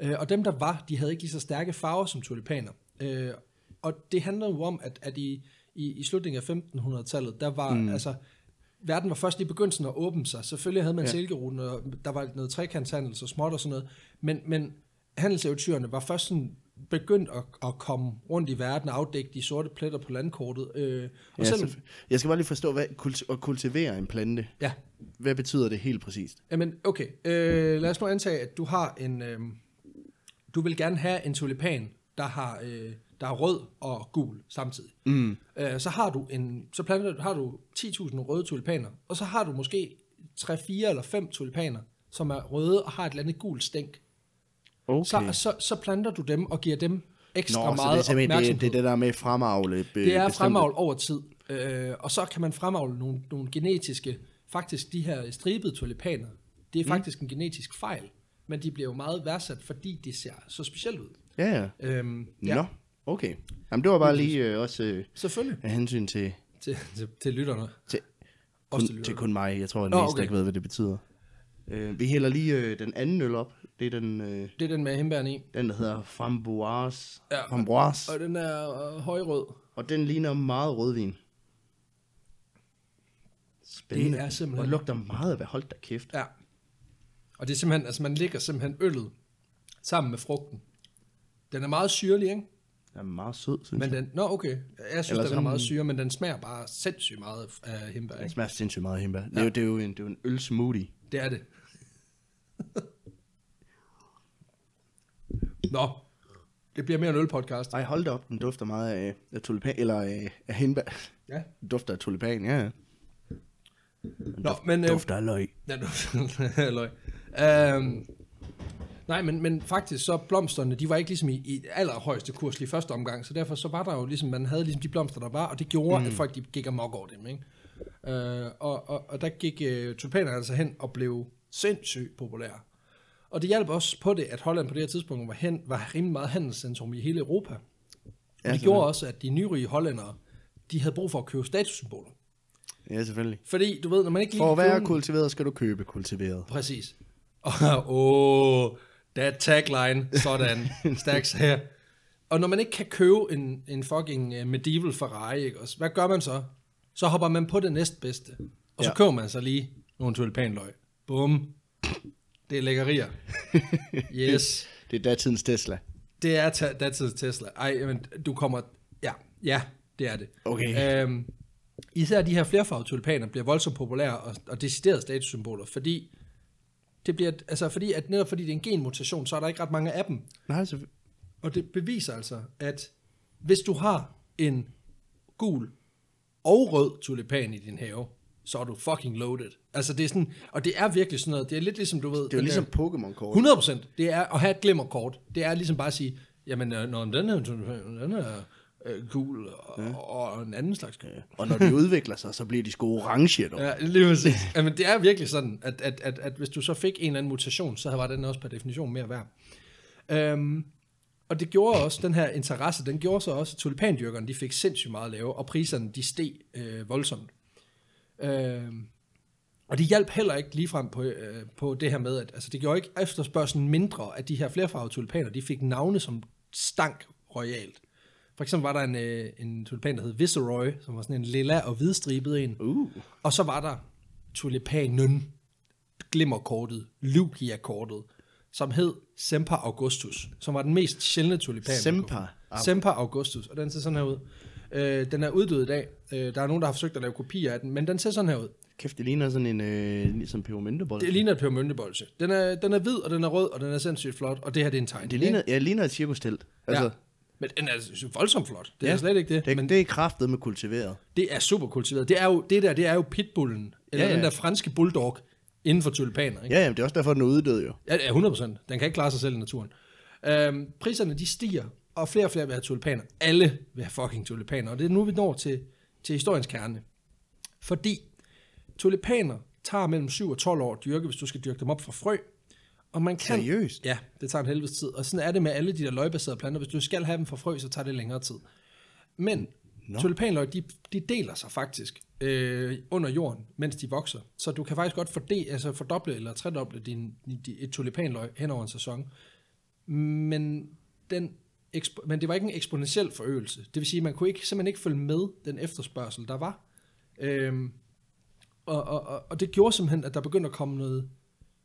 Speaker 2: Øh, og dem, der var, de havde ikke lige så stærke farver som tulipaner. Øh, og det handlede jo om, at, at i, i, i slutningen af 1500-tallet, der var mm. altså... Verden var først lige begyndt sådan at åbne sig. Selvfølgelig havde man ja. silkeruten, og der var noget trekantshandel, så småt og sådan noget. Men, men handelseventyrene var først sådan begyndt at, at komme rundt i verden og afdække de sorte pletter på landkortet. Øh, og
Speaker 1: Ja,
Speaker 2: ja, selvom,
Speaker 1: så, jeg skal bare lige forstå, hvad kulti- at kultivere en plante,
Speaker 2: ja,
Speaker 1: hvad betyder det helt præcist?
Speaker 2: Jamen, okay. Øh, lad os nu antage, at du har en... Øh, du vil gerne have en tulipan, der har, øh, der er rød og gul samtidig. Mm. Øh, så har du en... Så planter, har du 10.000 røde tulipaner, og så har du måske 3, 4 eller 5 tulipaner, som er røde og har et eller andet gult stænk.
Speaker 1: Okay.
Speaker 2: Så, så, så planter du dem og giver dem ekstra
Speaker 1: Nå, så det er
Speaker 2: meget
Speaker 1: simpelthen det,
Speaker 2: opmærksomhed.
Speaker 1: det, er det der med at fremavle be,
Speaker 2: Det er
Speaker 1: bestemte-
Speaker 2: fremavl over tid. Øh, og så kan man fremavle nogle, nogle genetiske, faktisk de her stribede tulipaner, det
Speaker 1: Mm.
Speaker 2: er faktisk en genetisk fejl, men de bliver jo meget værdsat, fordi det ser så specielt ud.
Speaker 1: Ja, ja.
Speaker 2: Øhm,
Speaker 1: ja. Nå, okay. Jamen, det var bare lige øh, også øh,
Speaker 2: Selvfølgelig.
Speaker 1: af hensyn til,
Speaker 2: Til, til, til lytterne.
Speaker 1: til,
Speaker 2: Også
Speaker 1: kun,
Speaker 2: til
Speaker 1: til
Speaker 2: lytterne.
Speaker 1: kun mig. Jeg tror, at
Speaker 2: Nå,
Speaker 1: næste
Speaker 2: okay.
Speaker 1: okay. ikke ved, hvad det betyder. Øh, vi hælder lige øh, den anden øl op. Det er den, øh,
Speaker 2: Det er den med hembærne i.
Speaker 1: den der hedder Framboise.
Speaker 2: Ja.
Speaker 1: Ja. Framboise.
Speaker 2: Og den er øh, højrød.
Speaker 1: Og den ligner meget rødvin. Spændende.
Speaker 2: Det er simpelthen-
Speaker 1: Og lugter meget af, hvad hold da kæft.
Speaker 2: Ja. Og det er simpelthen, altså man lægger simpelthen øllet sammen med frugten. Den er meget syrlig, ikke?
Speaker 1: Den er meget sød, synes
Speaker 2: Men
Speaker 1: jeg.
Speaker 2: den, nå okay, jeg synes,
Speaker 1: Eller
Speaker 2: den er
Speaker 1: sådan-
Speaker 2: meget syre, men den smager bare sindssygt meget af- af hembær,
Speaker 1: Den
Speaker 2: ikke?
Speaker 1: smager sindssygt meget af hembær. Ja. Det, er jo, det, er jo en, det er jo en øl smoothie.
Speaker 2: Det er det. Nå, det bliver mere en ølpodcast.
Speaker 1: Ej, hold da op, den dufter meget af, af tulipan, eller af, af hindbær.
Speaker 2: Ja.
Speaker 1: Den dufter af tulipan, ja. ja.
Speaker 2: Nå, men... øh,
Speaker 1: Dufter af løg.
Speaker 2: Ja, du- løg. Øhm, nej, men, men faktisk så blomsterne, de var ikke ligesom i, i allerhøjeste kurs lige i første omgang, så derfor så var der jo ligesom, man havde ligesom de blomster, der var, og det gjorde, mm. at folk de gik amok over dem, ikke? Øh, og, og, og der gik øh, tulipanerne altså hen og blev sindssygt populære. Og det hjalp også på det, at Holland på det her tidspunkt var, hen, var rimelig meget handelscentrum i hele Europa. Og det
Speaker 1: selvfølgelig.
Speaker 2: gjorde også, at de nyrige hollændere, de havde brug for at købe statussymboler.
Speaker 1: Ja, selvfølgelig.
Speaker 2: Fordi, du ved, når man ikke lige
Speaker 1: For at
Speaker 2: kan købe
Speaker 1: være
Speaker 2: en-
Speaker 1: kultiveret, skal du købe kultiveret.
Speaker 2: Præcis. Og åh, der er tagline, sådan, stærk her. Og når man ikke kan købe en, en fucking øh, medieval Ferrari, ikke også, hvad gør man så? Så hopper man på det næstbedste, og så ja.
Speaker 1: Ja.
Speaker 2: køber man så lige nogle tulipanløg. Bum. Det er lækkerier. Yes.
Speaker 1: Det er datidens Tesla.
Speaker 2: Det er ta- datidens Tesla. Ej, men du kommer... Ja, ja, det er det.
Speaker 1: Okay.
Speaker 2: Øhm, især de her flerfarvede tulipaner bliver voldsomt populære og, og deciderede statussymboler, fordi det bliver, altså fordi, at netop fordi det er en genmutation, så er der ikke ret mange af dem.
Speaker 1: Nej, så...
Speaker 2: Og det beviser altså, at hvis du har en gul og rød tulipan i din have, så er du fucking loaded. Altså det er sådan, og det er virkelig sådan noget, det er lidt ligesom, du ved...
Speaker 1: Det er jo ligesom Pokémon-kort.
Speaker 2: 100 procent. Det er at have et glimmerkort. Det er ligesom bare at sige, jamen, øh, når den her, den er øh, gul og, ja. og, en anden slags. Ja.
Speaker 1: Og når de udvikler sig, så bliver de sgu orange, dog.
Speaker 2: Ja, lige præcis. Jamen, det er virkelig sådan, at, at, at, at hvis du så fik en eller anden mutation, så var den også per definition mere værd. Øhm, og det gjorde også, den her interesse, den gjorde så også, at tulipandyrkerne, de fik sindssygt meget lave, og priserne, de steg øh, voldsomt. Øhm, og det hjalp heller ikke ligefrem på, øh, på det her med, at altså, det gjorde ikke efterspørgselen mindre, at de her flerfarvede tulipaner, de fik navne, som stank royalt. For eksempel var der en, øh, en tulipan, der hed Viceroy, som var sådan en lilla og hvidstribet en.
Speaker 1: Uh.
Speaker 2: Og så var der tulipanen, glimmerkortet, Lugia-kortet, som hed Semper Augustus, som var den mest sjældne tulipan. man kunne
Speaker 1: Semper Ah.
Speaker 2: Semper Augustus, og den ser sådan her ud. Øh, den er uddød i dag. Øh, der er nogen, der har forsøgt at lave kopier af den, men den ser sådan her ud.
Speaker 1: Kæft, det ligner sådan en øh, ligesom pebermyntebold.
Speaker 2: Det ligner et pørmyntebolse. Den er, den er hvid, og den er rød, og den er sindssygt flot, og det her det er en tegning.
Speaker 1: det ligner, ja, det ligner et cirkustelt. Altså,
Speaker 2: ja.
Speaker 1: ja,
Speaker 2: Men den er voldsomt flot. Det er
Speaker 1: Ja.
Speaker 2: slet ikke det.
Speaker 1: det,
Speaker 2: men
Speaker 1: men... det er kraftet med kultiveret.
Speaker 2: Det er super kultiveret. Det, er jo, det der, det er jo pitbullen, eller ja,
Speaker 1: Ja,
Speaker 2: ja.
Speaker 1: ja.
Speaker 2: den der franske bulldog inden for tulipaner. Ikke?
Speaker 1: Ja, jamen, det er også derfor, den er uddød jo.
Speaker 2: Ja. ja, 100%. Den kan ikke klare sig selv i naturen. Øhm, priserne de stiger, og flere og flere vil have tulipaner. Alle vil have fucking tulipaner, og det er nu, vi når til, til historiens kerne. Fordi tulipaner tager mellem 7 og 12 år at dyrke, hvis du skal dyrke dem op fra frø. Og man kan,
Speaker 1: Seriøst?
Speaker 2: Ja, det tager en helvedes tid. Og sådan er det med alle de der løgbaserede planter. Hvis du skal have dem fra frø, så tager det længere tid. Men no. tulipanløg, de, de deler sig faktisk øh, under jorden, mens de vokser. Så du kan faktisk godt forde, altså fordoble eller tredoble din, din, et tulipanløg hen over en sæson. Men, den, ekspo- men det var ikke en eksponentiel forøgelse. Det vil sige, at man kunne ikke, simpelthen ikke følge med den efterspørgsel, der var. Øhm, og, og, og, og det gjorde simpelthen, at der begyndte at komme noget,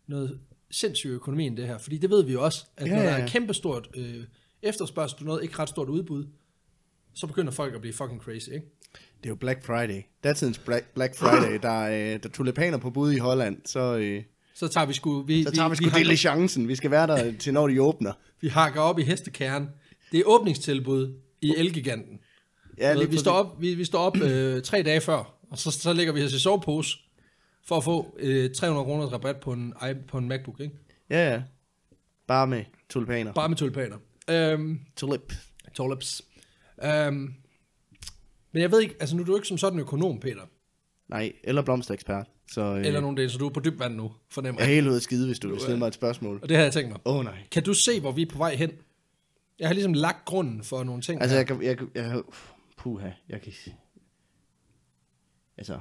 Speaker 2: noget sindssygt økonomi i det her. Fordi det ved vi jo også, at ja,
Speaker 1: Ja,
Speaker 2: når
Speaker 1: ja,
Speaker 2: der er
Speaker 1: ja.
Speaker 2: kæmpestort øh, efterspørgsel på noget, ikke ret stort udbud, så begynder folk at blive fucking crazy, ikke?
Speaker 1: Det er jo Black Friday. Datidens Black, Black Friday, der, er, øh, der er tulipaner på bud i Holland, så, øh,
Speaker 2: Så tager vi sgu... Vi,
Speaker 1: så tager vi, sgu
Speaker 2: vi,
Speaker 1: dele
Speaker 2: hakker,
Speaker 1: chancen. Vi skal være der til, når de åbner.
Speaker 2: vi hakker op i hestekernen. Det er åbningstilbud i Elgiganten. Ja,
Speaker 1: lige
Speaker 2: vi,
Speaker 1: præcis.
Speaker 2: står op, vi, vi står op øh, tre dage før, og så, så lægger vi os i sovepose for at få øh, 300 kroners rabat på en, i- på en MacBook, ikke?
Speaker 1: Ja, ja. Bare med tulipaner.
Speaker 2: Bare med tulipaner. Øhm,
Speaker 1: Tulip.
Speaker 2: tulips. Øhm, men jeg ved ikke, altså nu er du jo ikke som sådan økonom, Peter,
Speaker 1: Nej, eller blomsterekspert. Så øh,
Speaker 2: eller nogen del, så du er på dyb vand nu, fornemmer
Speaker 1: jeg er
Speaker 2: jeg.
Speaker 1: helt ude at skide, hvis du vil stille mig et spørgsmål.
Speaker 2: Og det havde jeg tænkt mig.
Speaker 1: Åh oh, nej.
Speaker 2: Kan du se, hvor vi er på vej hen? Jeg har ligesom lagt grunden for nogle ting.
Speaker 1: Altså,
Speaker 2: her.
Speaker 1: jeg kan... Jeg, kan- jeg, uff, puha, jeg kan... ikke- Altså...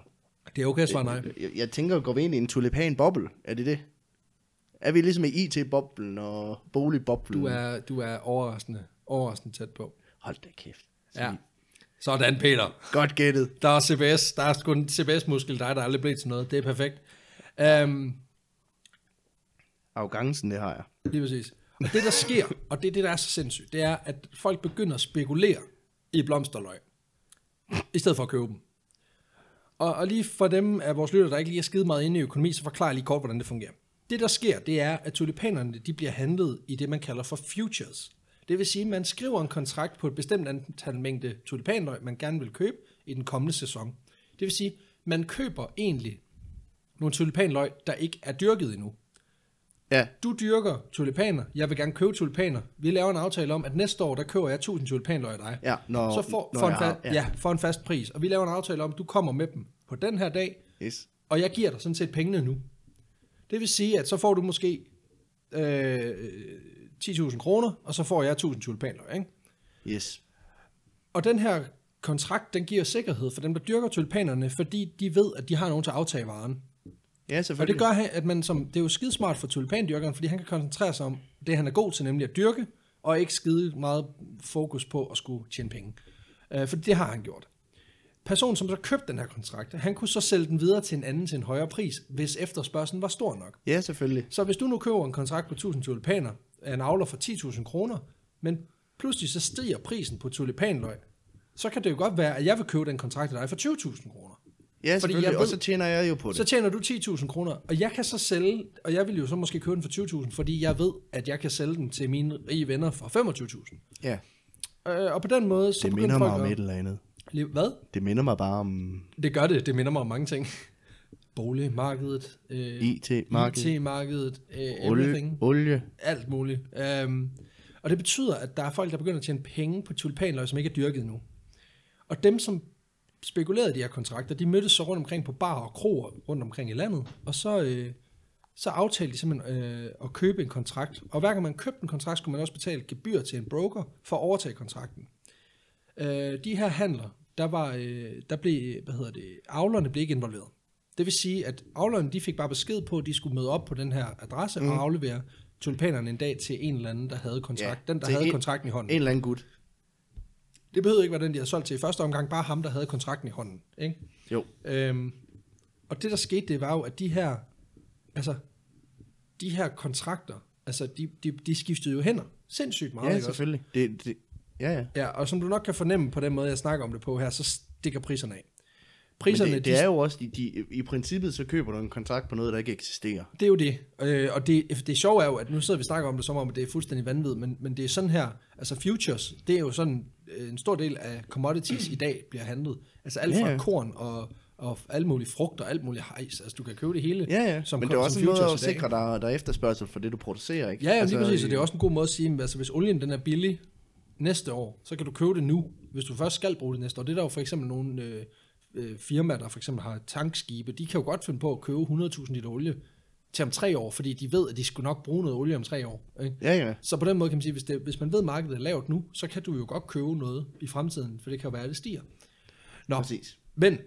Speaker 2: det er okay at svare nej.
Speaker 1: Jeg, jeg tænker, går vi ind i en tulipan-boble? Er det det? Er vi ligesom i IT-boblen og boligboblen?
Speaker 2: Du er, du er overraskende, overraskende tæt på.
Speaker 1: Hold da kæft.
Speaker 2: Ja. Sådan, Peter.
Speaker 1: Godt gættet.
Speaker 2: Der er CBS. Der er sgu en CBS-muskel, dig, der aldrig blev til noget. Det er perfekt. Um,
Speaker 1: Arrogancen, det har jeg.
Speaker 2: lige præcis. Og det, der sker, og det er det, der er så sindssygt, det er, at folk begynder at spekulere i blomsterløg, i stedet for at købe dem. Og, og lige for dem af vores lytter, der ikke lige er skide meget inde i økonomi, så forklarer jeg lige kort, hvordan det fungerer. Det, der sker, det er, at tulipanerne de bliver handlet i det, man kalder for futures. Det vil sige, at man skriver en kontrakt på et bestemt antal mængde tulipanløg, man gerne vil købe i den kommende sæson. Det vil sige, man køber egentlig nogle tulipanløg, der ikke er dyrket endnu
Speaker 1: Ja,
Speaker 2: du dyrker tulipaner, jeg vil gerne købe tulipaner. Vi laver en aftale om, at næste år, der køber jeg 1000 tulipanløg af dig.
Speaker 1: Ja, når-
Speaker 2: så for,
Speaker 1: når
Speaker 2: for, en
Speaker 1: jeg har-
Speaker 2: fa- ja.
Speaker 1: ja.
Speaker 2: Ja, for en fast pris. Og vi laver en aftale om, at du kommer med dem på den her dag,
Speaker 1: yes.
Speaker 2: og jeg giver dig sådan set pengene nu. Det vil sige, at så får du måske øh, 10.000 kroner, og så får jeg 1000 tulipanløg. Ikke?
Speaker 1: Yes.
Speaker 2: Og den her kontrakt, den giver sikkerhed for dem, der dyrker tulipanerne, fordi de ved, at de har nogen til at aftage varen.
Speaker 1: Ja,
Speaker 2: Og det
Speaker 1: selvfølgelig.
Speaker 2: gør, han- at man som, det er jo skidesmart for tulipandyrkeren, fordi han kan koncentrere sig om det, han er god til, nemlig at dyrke, og ikke skide meget fokus på at skulle tjene penge. Øh, for det har han gjort. Personen, som så købte den her kontrakt, han kunne så sælge den videre til en anden til en højere pris, hvis efterspørgselen var stor nok.
Speaker 1: Ja, selvfølgelig.
Speaker 2: Så hvis du nu køber en kontrakt på 1000 tulipaner af en avler for 10.000 kroner, men pludselig så stiger prisen på tulipanløg, så kan det jo godt være, at jeg vil købe den kontrakt af dig for 20.000 kroner.
Speaker 1: Ja, selvfølgelig.
Speaker 2: jeg
Speaker 1: Og
Speaker 2: ved-
Speaker 1: så tjener jeg jo på det.
Speaker 2: Så tjener du 10.000 kroner, og jeg kan så sælge, og jeg vil jo så måske købe den for 20.000, fordi jeg ved, at jeg kan sælge den til mine rige venner for 25.000.
Speaker 1: Ja.
Speaker 2: Øh, og på den måde, så
Speaker 1: Det
Speaker 2: begynder
Speaker 1: minder mig
Speaker 2: folk
Speaker 1: om
Speaker 2: at-
Speaker 1: et eller andet.
Speaker 2: Lige- Hvad?
Speaker 1: Det minder mig bare om
Speaker 2: Det gør det, det minder mig om mange ting. Boligmarkedet, øh,
Speaker 1: IT-markedet.
Speaker 2: IT-markedet, øh,
Speaker 1: Olie.
Speaker 2: everything,
Speaker 1: Olie.
Speaker 2: alt muligt. Øhm, og det betyder, at der er folk, der begynder at tjene penge på tulipanløg, som ikke er dyrket endnu. Og dem, som spekulerede i de her kontrakter, de mødtes så rundt omkring på bar og kroer rundt omkring i landet, og så, øh, så aftalte de simpelthen øh, at købe en kontrakt. Og hver gang man købte en kontrakt, skulle man også betale et gebyr til en broker for at overtage kontrakten. Øh, de her handler, der, var, øh, der blev, hvad hedder det, avlerne blev ikke involveret. Det vil sige, at avlerne de fik bare besked på, at de skulle møde op på den her adresse mm. og aflevere tulipanerne en dag til en eller anden, der havde kontrakt. Ja, den, der
Speaker 1: til
Speaker 2: havde
Speaker 1: en-
Speaker 2: kontrakten i hånden.
Speaker 1: En eller anden gut.
Speaker 2: Det behøvede ikke være den, de havde solgt til i første omgang, bare ham, der havde kontrakten i hånden. Ikke?
Speaker 1: Jo.
Speaker 2: Øhm, og det, der skete, det var jo, at de her, altså, de her kontrakter, altså, de, de, de skiftede jo hænder sindssygt meget.
Speaker 1: Ja,
Speaker 2: ikke også?
Speaker 1: selvfølgelig. Det, det, Ja, ja.
Speaker 2: Ja, og som du nok kan fornemme på den måde, jeg snakker om det på her, så stikker priserne af.
Speaker 1: Priserne,
Speaker 2: Priserne,
Speaker 1: Men det, det er jo også, de, de, i princippet så køber du en kontrakt på noget, der ikke eksisterer.
Speaker 2: Det er jo det. Øh, og det, det sjove er jo, at nu sidder vi og snakker om det, som om at det er fuldstændig vanvittigt, men, men det er sådan her, altså futures, det er jo sådan, øh, en stor del af commodities i dag bliver handlet. Altså alt fra
Speaker 1: Ja, ja.
Speaker 2: korn og, og alt muligt frugt og alt muligt hejs. Altså du kan købe det hele
Speaker 1: Ja, ja.
Speaker 2: som,
Speaker 1: Som, Men det er også
Speaker 2: som
Speaker 1: en måde at
Speaker 2: futures i dag.
Speaker 1: sikre, der, der er efterspørgsel for det, du producerer, ikke? Altså,
Speaker 2: Ja, ja, lige præcis. Og det er også en god måde at sige, at altså, hvis olien den er billig næste år, så kan du købe det nu, hvis du først skal bruge det næste år. Det er der jo for eksempel nogle øh, øh, firmaer, der for eksempel har tankskibe, de kan jo godt finde på at købe 100.000 liter olie til om tre år, fordi de ved, at de skulle nok bruge noget olie om tre år. Ikke?
Speaker 1: Ja, ja.
Speaker 2: Så på den måde kan man sige, hvis, det, hvis man ved, at markedet er lavt nu, så kan du jo godt købe noget i fremtiden, for det kan jo være, at det stiger. Nå,
Speaker 1: Præcis.
Speaker 2: men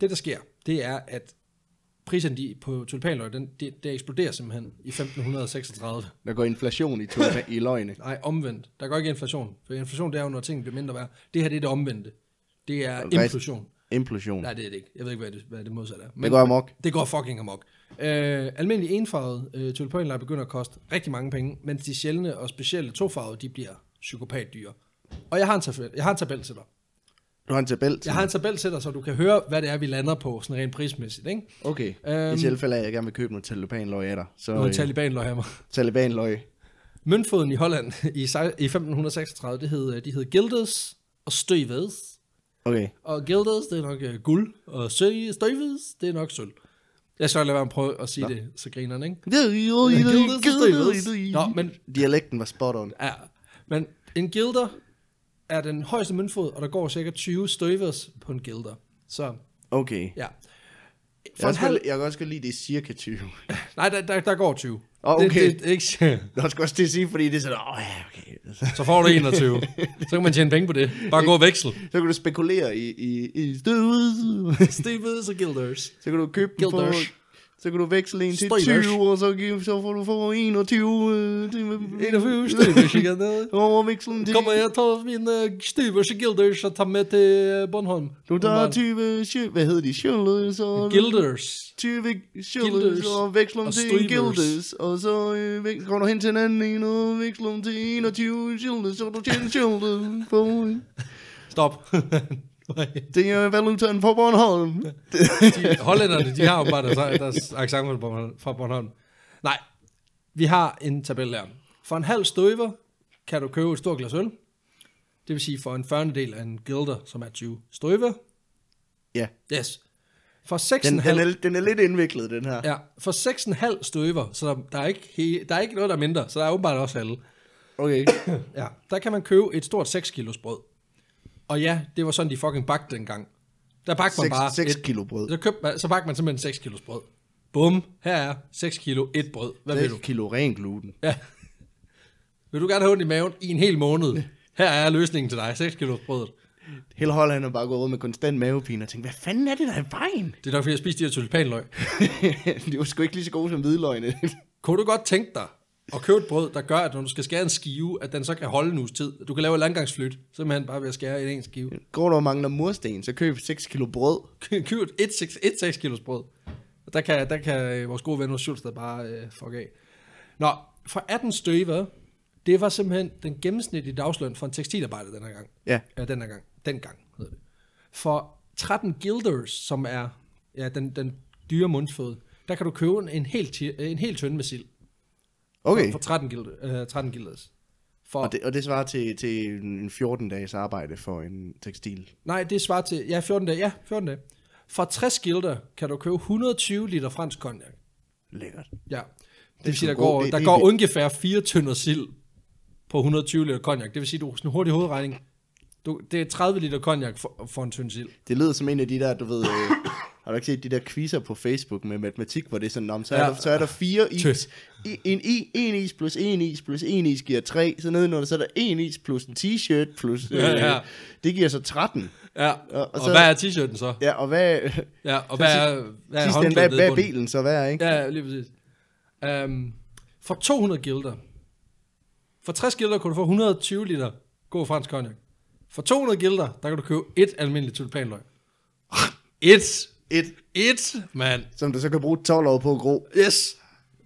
Speaker 2: det, der sker, det er, at priserne de, på tulipanløg, den, det, det eksploderer simpelthen i 1536.
Speaker 1: Der går inflation i, tulpa- i løgne.
Speaker 2: Nej, omvendt. Der går ikke inflation. For inflation, det er jo, når ting bliver mindre værd. Det her, det er det omvendte. Det er
Speaker 1: Rest-
Speaker 2: implosion.
Speaker 1: Implosion.
Speaker 2: Nej, det er det ikke. Jeg ved ikke, hvad det, hvad det modsatte er. Men
Speaker 1: Det går amok.
Speaker 2: det går fucking amok. Øh, almindelig enfarvede øh, tulipanlejer begynder at koste rigtig mange penge, mens de sjældne og specielle tofarvede, de bliver psykopatdyre. Og jeg har en tabel, jeg har en tabel til dig.
Speaker 1: Du har en tabel til
Speaker 2: Jeg har en tabel til dig, så du kan høre, hvad det er, vi lander på, sådan rent prismæssigt, ikke?
Speaker 1: Okay, øhm,
Speaker 2: Øhm.
Speaker 1: i tilfælde af, at jeg gerne vil købe nogle talibanløg af dig, så
Speaker 2: Noget
Speaker 1: øh,
Speaker 2: talibanløg her.
Speaker 1: talibanløg.
Speaker 2: Møntfoden i Holland i, sej- i 1536, det hed, øh, de hed Gildes og Støves.
Speaker 1: Okay,
Speaker 2: Og gildes, det er nok øh, guld. Og sø- støves, det er nok sølv. Jeg skal nok lade være med at prøve at sige Nå. det, så grinerne, ikke? Gildes og støves. Nå, men,
Speaker 1: dialekten var spot on.
Speaker 2: ja. men en gilder er den højeste møntfod, og der går cirka 20 støves på en gilder. Så
Speaker 1: Okay,
Speaker 2: ja.
Speaker 1: jeg,
Speaker 2: For en
Speaker 1: også
Speaker 2: halv...
Speaker 1: halv... jeg kan også godt lide, det er cirka 20.
Speaker 2: Nej, der, der, der går 20.
Speaker 1: Åh, okay.
Speaker 2: det, det, det, er ikke...
Speaker 1: Jeg skal også til at sige, fordi det er sådan, åh ja, okay.
Speaker 2: Så får du 21. så kan man tjene penge på det. Bare gå og veksel.
Speaker 1: Så kan du spekulere i, i, i støvet.
Speaker 2: Støves og gilders.
Speaker 1: så kan du købe den på...
Speaker 2: Gilders.
Speaker 1: Så kan du veksle en til
Speaker 2: Støves.
Speaker 1: 20, og så, gi- så får du for 21. øh, det-
Speaker 2: 21 støves igen. øh.
Speaker 1: Overveksle en til...
Speaker 2: Kommer jeg og tager mine støvers og gilders og tager med til øh, Bornholm.
Speaker 1: Du tager
Speaker 2: Åbenbart.
Speaker 1: 20... sjø- Hvad hedder de? Sjølle, så...
Speaker 2: Gilders.
Speaker 1: 20
Speaker 2: Guilders
Speaker 1: sjældent, og veksler dem
Speaker 2: og
Speaker 1: til en
Speaker 2: streamers.
Speaker 1: guildes, og så øh, væk- går du hen til en anden en, og veksler dem til 21 sjældent, så du tjener sjældent på. øh.
Speaker 2: Stop.
Speaker 1: Det er valutaen på Bornholm.
Speaker 2: de, hollænderne, de har jo bare deres, deres accent fra Bornholm- fra Bornholm. Nej, vi har en tabel der. For en halv støver kan du købe et stort glas øl. Det vil sige for en 40. del af en gilder, som er 20 støver.
Speaker 1: Ja,
Speaker 2: Yes. For
Speaker 1: den,
Speaker 2: 6,5
Speaker 1: den, er, den er lidt indviklet, den her.
Speaker 2: Ja, for 6,5 støver, så der, der, er ikke he, der er ikke noget, der er mindre, så der er åbenbart også halve.
Speaker 1: Okay.
Speaker 2: Ja, der kan man købe et stort 6 kilos brød. Og ja, det var sådan, de fucking bagte dengang. Der bagte man bare
Speaker 1: 6, 6
Speaker 2: et,
Speaker 1: kilo brød.
Speaker 2: Så, købte man, så bagte man simpelthen 6 kilos brød. Bum, her er 6 kilo, et brød. Hvad vil
Speaker 1: 6
Speaker 2: du?
Speaker 1: kilo ren gluten.
Speaker 2: Ja. Vil du gerne have ondt i maven i en hel måned? Her er løsningen til dig, 6 kilos brød.
Speaker 1: Hele Holland har bare gået rundt med konstant mavepine og tænkt, hvad fanden er det, der er i vejen?
Speaker 2: Det er nok fordi, jeg spiste de her tulipanløg.
Speaker 1: det var sgu ikke lige så gode som hvidløgne.
Speaker 2: Kunne du godt tænke dig at købe et brød, der gør, at når du skal skære en skive, at den så kan holde en uges tid? Du kan lave en landgangsflyt, simpelthen bare ved at skære i en skive.
Speaker 1: Går du og mangler mursten, så køb 6 kilo brød.
Speaker 2: Køb et- et 6, et 6 kilos brød. Og Der kan, der kan øh, vores gode ven hos Schulstad bare øh, fuck af. Nå, for 18 støver, det var simpelthen den gennemsnitlige dagsløn for en tekstilarbejder den her gang.
Speaker 1: Ja.
Speaker 2: Ja, den her gang. Den gang hedder det. For 13 guilders, som er ja, den, den dyre mundsfod, der kan du købe en, en helt, ti- øh, en helt tynde med sild.
Speaker 1: Okay.
Speaker 2: For, for 13, guild, øh, 13 guilders. For,
Speaker 1: Og det, og det svarer til, til en 14-dages arbejde for en tekstil.
Speaker 2: Nej, det svarer til, ja, 14 dage. Ja, 14 dage. For 60 guilder kan du købe 120 liter fransk cognac.
Speaker 1: Lækkert.
Speaker 2: Ja. Det vil
Speaker 1: er
Speaker 2: sige, der
Speaker 1: sgu
Speaker 2: går,
Speaker 1: god. Det-
Speaker 2: der
Speaker 1: det-
Speaker 2: går
Speaker 1: det-
Speaker 2: ungefær fire tønder sild på 120 liter cognac. Det vil sige, du sådan en hurtig hovedregning. Du, det er 30 liter cognac for, for en tynd sild.
Speaker 1: Det lyder som en af de der, du ved... Øh, har du ikke set de der quizzer på Facebook med matematik, hvor det er sådan, om, så, er
Speaker 2: Ja.
Speaker 1: der, så er der fire is.
Speaker 2: Tøs.
Speaker 1: I, en, i, en is plus en is plus en is giver tre. Så nedenunder, så er der en is plus en t-shirt plus... Øh,
Speaker 2: Ja,
Speaker 1: ja,
Speaker 2: ja.
Speaker 1: ja. Det giver så 13.
Speaker 2: Ja,
Speaker 1: Og-
Speaker 2: og,
Speaker 1: og
Speaker 2: og så,
Speaker 1: så-
Speaker 2: hvad er t-shirten så?
Speaker 1: Ja, og hvad...
Speaker 2: Ja, og hvad
Speaker 1: sidst
Speaker 2: er, hvad er
Speaker 1: ende, hvad,
Speaker 2: håndklædet
Speaker 1: hvad
Speaker 2: nede i
Speaker 1: er
Speaker 2: bunden?
Speaker 1: bilen så værd, ikke?
Speaker 2: Ja, lige præcis. Um, for 200 guilder. For 60 guilder kunne du få 120 liter god fransk cognac. For 200 guilder, der kan du købe et almindeligt tulipanløg. Et.
Speaker 1: Et,
Speaker 2: Et, mand.
Speaker 1: som du så kan bruge 12 år på at gro.
Speaker 2: Yes.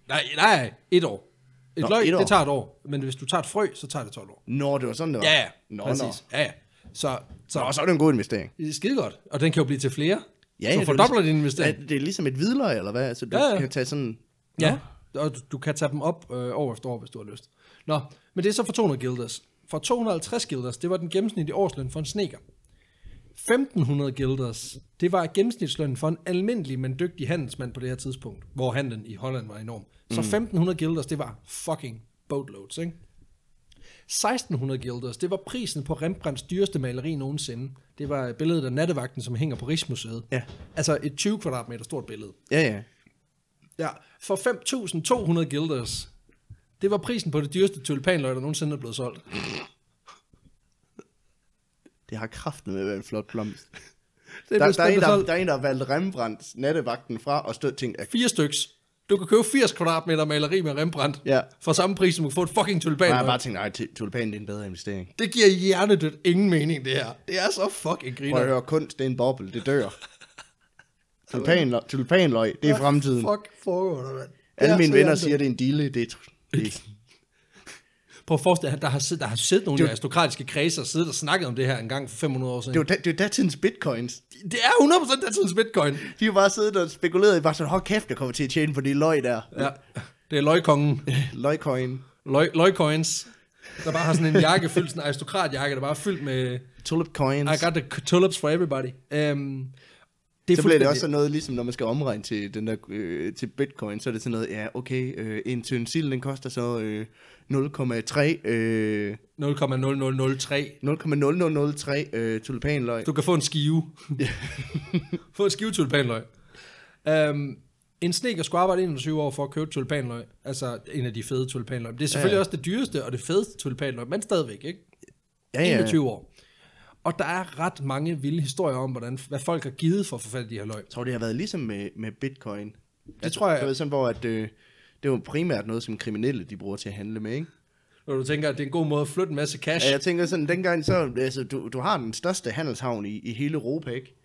Speaker 2: Nej, nej, et år. Et
Speaker 1: Nå,
Speaker 2: løg,
Speaker 1: et år.
Speaker 2: det tager et år. Men hvis du tager et frø, så tager det 12 år.
Speaker 1: Nå, det var sådan, det var.
Speaker 2: Ja, ja.
Speaker 1: Nå,
Speaker 2: præcis.
Speaker 1: nå.
Speaker 2: Ja, ja. Så, så,
Speaker 1: Nå,
Speaker 2: så
Speaker 1: så er det en god investering.
Speaker 2: skide godt. Og den kan jo blive til flere.
Speaker 1: Ja,
Speaker 2: så
Speaker 1: ja,
Speaker 2: fordobler
Speaker 1: det er
Speaker 2: din
Speaker 1: ligesom-
Speaker 2: investering.
Speaker 1: Er det ligesom et hvidløg, eller hvad? Altså, du
Speaker 2: Ja, ja.
Speaker 1: kan tage sådan...
Speaker 2: Ja, og du, du kan tage dem op øh, år efter år, hvis du har lyst. Nå, men det er så for 200 guilders. For 250 guilders, det var den gennemsnitlige årsløn for en sneker. 1500 guilders, det var gennemsnitslønnen for en almindelig, men dygtig handelsmand på det her tidspunkt, hvor handlen i Holland var enorm. Så 1500 guilders, det var fucking boatloads, ikke? 1600 guilders, det var prisen på Rembrandts dyreste maleri nogensinde. Det var billedet af nattevagten, som hænger på Rigsmuseet.
Speaker 1: Ja.
Speaker 2: Altså et 20 kvadratmeter stort billede.
Speaker 1: Ja, ja.
Speaker 2: Ja, for 5.200 guilders. Det var prisen på det dyreste tulipanløg, der nogensinde er blevet solgt.
Speaker 1: Det har kraften med at være en flot blomst.
Speaker 2: Det
Speaker 1: Der,
Speaker 2: blev
Speaker 1: der, er en, der,
Speaker 2: solgt
Speaker 1: der er en, der har valgt Rembrandts nattevagten fra, og stødt tænkt, at
Speaker 2: fire styks. Du kan købe 80 kvadratmeter maleri med Rembrandt.
Speaker 1: Ja.
Speaker 2: For samme pris, som du kan få et fucking
Speaker 1: jeg har
Speaker 2: tulipanløg.
Speaker 1: bare tænkt, nej, tu- tulipanen det er en bedre investering.
Speaker 2: Det giver hjernedødt ingen mening, det her. Det er så fucking griner.
Speaker 1: Prøv at høre, kunst, det er en boble, det dør. Tulipanløg, tulipanløg, det er fremtiden.
Speaker 2: Fuck foregår der, mand. Det
Speaker 1: Alle
Speaker 2: er
Speaker 1: mine
Speaker 2: så
Speaker 1: venner
Speaker 2: hjernedødt.
Speaker 1: siger, det er en dille, det er... tr- det-
Speaker 2: Prøv at forestille dig, der har, siddet, der har siddet nogle aristokratiske kredser og siddet og snakket om det her en gang for 500 år siden.
Speaker 1: Det er jo da- det er jo datidens bitcoins.
Speaker 2: Det er 100% datidens bitcoin.
Speaker 1: De har bare siddet og spekuleret i, bare sådan, hold kæft, jeg kommer til at tjene på de løg der.
Speaker 2: Ja. Det er løgkongen.
Speaker 1: Løgcoin.
Speaker 2: Løg, løgcoins, der bare har sådan en jakke fyldt, sådan en aristokratjakke, der bare er fyldt med
Speaker 1: Tulip coins.
Speaker 2: I got the tulips for everybody. Um, det er
Speaker 1: Så bliver det
Speaker 2: fuldstændig-
Speaker 1: også sådan noget, ligesom når man skal omregne til, den der, øh, til bitcoin, så er det sådan noget, ja, okay, øh, en tønde sild, den koster så øh, 0,3, øh,
Speaker 2: 0,0003.
Speaker 1: 0,0003 øh, tulipanløg.
Speaker 2: Du kan få en skive. få en skive tulipanløg. Um, en sneker skulle arbejde 21 år for at købe tulipanløg. Altså en af de fede tulipanløg. Det er selvfølgelig
Speaker 1: Ja.
Speaker 2: ja. også det dyreste og det fedeste tulipanløg, men stadigvæk, ikke?
Speaker 1: Ja, ja.
Speaker 2: 21 år. Og der er ret mange vilde historier om, hvordan, hvad folk har givet for at få fat i de her løg.
Speaker 1: Jeg tror, det har været ligesom med, med bitcoin. Det
Speaker 2: tror jeg-
Speaker 1: Det var sådan, hvor at, øh, det var primært noget, som kriminelle de bruger til at handle med, ikke?
Speaker 2: Når du tænker, at det er en god måde at flytte en masse cash.
Speaker 1: Ja, jeg tænker sådan, dengang så, altså, du, du har den største handelshavn i, i hele Europa, ikke?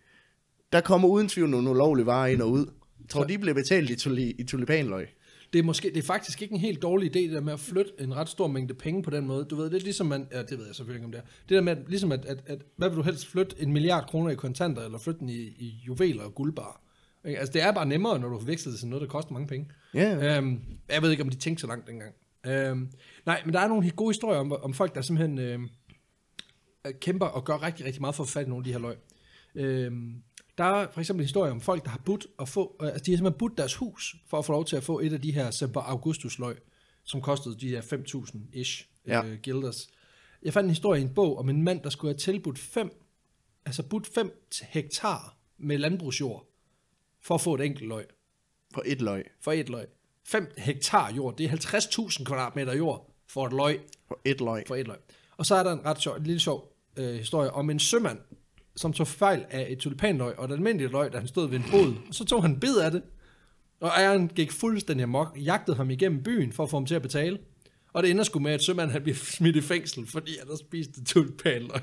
Speaker 1: Der kommer uden tvivl nogle ulovlige varer ind og ud. Jeg tror, de bliver betalt i, tuli, i tulipanløg.
Speaker 2: Det er, måske, det er faktisk ikke en helt dårlig idé, det der med at flytte en ret stor mængde penge på den måde. Du ved, det er ligesom, man, ja, det ved jeg selvfølgelig ikke om det er. Det der med, at- ligesom at, at, at, hvad vil du helst flytte en milliard kroner i kontanter, eller flytte den i, i juveler og guldbar? Ikke? Altså, det er bare nemmere, når du veksler det til noget, der koster mange penge.
Speaker 1: Ja.
Speaker 2: Øhm, jeg ved ikke, om de tænkte så langt dengang. Øhm, nej, men der er nogle gode historier om, om folk, der simpelthen øhm, øh, kæmper og gør rigtig, rigtig meget for at få fat i nogle af de her løg. Øhm, der er for eksempel historier om folk, der har budt at få, øh, altså de har simpelthen budt deres hus, for at få lov til at få et af de her Semper Augustus løg, som kostede de her 5.000-ish
Speaker 1: Ja.
Speaker 2: øh, guilders. Jeg fandt en historie i en bog om en mand, der skulle have tilbudt fem, altså budt 5 hektar med landbrugsjord, for at få et enkelt løg
Speaker 1: På et løg.
Speaker 2: for et løg. 5 hektar jord, det er 50.000 kvadratmeter jord for et løg,
Speaker 1: På et løg.
Speaker 2: for et løg. Og så er der en ret sjov, en lille sjov øh, historie om en sømand, som tog fejl af et tulipanløg og et almindeligt løg, da han stod ved en båd. Og så tog han en bid af det, og ejeren gik fuldstændig amok, jagtede ham igennem byen for at få ham til at betale. Og det ender sgu med, at sømanden han bliver smidt i fængsel, fordi han har spist et tulipanløg.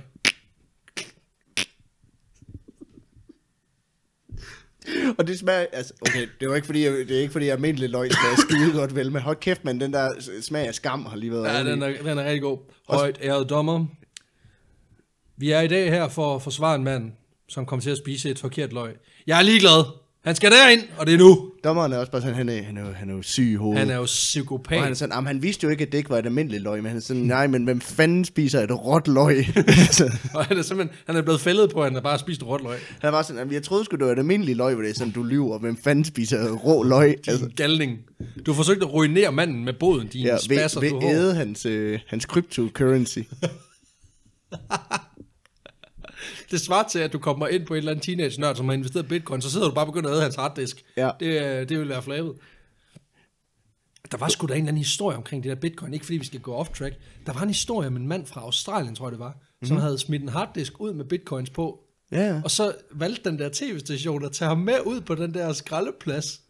Speaker 1: Og det smager, altså, okay, det var ikke fordi, jeg, det er ikke fordi, jeg almindelig løg smager skide godt vel, men hold kæft, men den der s- smag af skam har lige været
Speaker 2: Ja,
Speaker 1: oveni.
Speaker 2: den er, den er rigtig god. Højt ærede dommer. Vi er i dag her for at forsvare en mand, som kom til at spise et forkert løg. Jeg er ligeglad. Han skal derind, og det er nu.
Speaker 1: Dommeren er også bare sådan, han er, han er, jo- han er jo syg i hovedet.
Speaker 2: Han er jo
Speaker 1: og han er
Speaker 2: psykopat.
Speaker 1: sådan, "Jamen, han vidste jo ikke, at det ikke var et almindeligt løg, men han er sådan, nej, men hvem fanden spiser et råt løg? Altså, Så
Speaker 2: Og han er simpelthen han er blevet fældet på, at han har bare spist rødt løg.
Speaker 1: han var sådan, "Jamen, jeg troede sgu, det var et almindeligt løg, hvor det er sådan, du lyver, hvem fanden spiser rå løg? Altså,
Speaker 2: Galning. Du har forsøgt at ruinere manden med boden, din
Speaker 1: ja,
Speaker 2: ja,
Speaker 1: ved,
Speaker 2: spasser, du
Speaker 1: ved
Speaker 2: har.
Speaker 1: æde hans, øh, hans cryptocurrency.
Speaker 2: Det svarer til, at du kommer ind på en eller anden teenage-nørd, som har investeret i bitcoin, så sidder du bare og begynder at æde hans harddisk.
Speaker 1: Ja.
Speaker 2: Det, øh, det vil være flabet. Der var sgu da en eller anden historie omkring det der bitcoin, ikke fordi vi skal gå off track. Der var en historie om en mand fra Australien, tror jeg det var, som havde smidt en harddisk ud med bitcoins på,
Speaker 1: Ja,
Speaker 2: og så valgte den der tv-station at tage ham med ud på den der skraldeplads,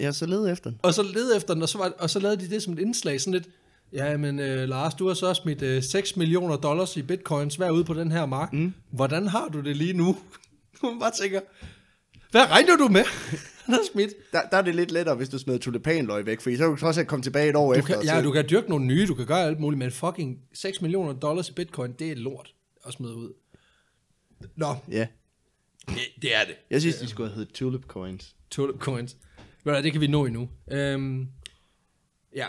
Speaker 1: ja, så led efter den.
Speaker 2: og så led efter den, og så, var, og så lavede de det som et indslag, sådan lidt, ja, men øh, Lars, du har så smidt øh, 6 millioner dollars i bitcoins hver ude på den her mark. Mm. Hvordan har du det lige nu? Hun bare tænker, Hvad regner du med? Han har smidt.
Speaker 1: Der, der er det lidt lettere, hvis du smed tulipanløg væk, for så kan du trods alt komme tilbage et år
Speaker 2: Du
Speaker 1: efter.
Speaker 2: kan,
Speaker 1: og
Speaker 2: ja,
Speaker 1: sige,
Speaker 2: du kan dyrke nogle nye, du kan gøre alt muligt, men fucking 6 millioner dollars i bitcoin, det er lort at smide ud. Nå,
Speaker 1: Ja,
Speaker 2: det, det er det.
Speaker 1: jeg synes, de skulle have heddet tulip coins.
Speaker 2: Tulip coins. Ved du hvad, det kan vi nå endnu. Øhm, ja.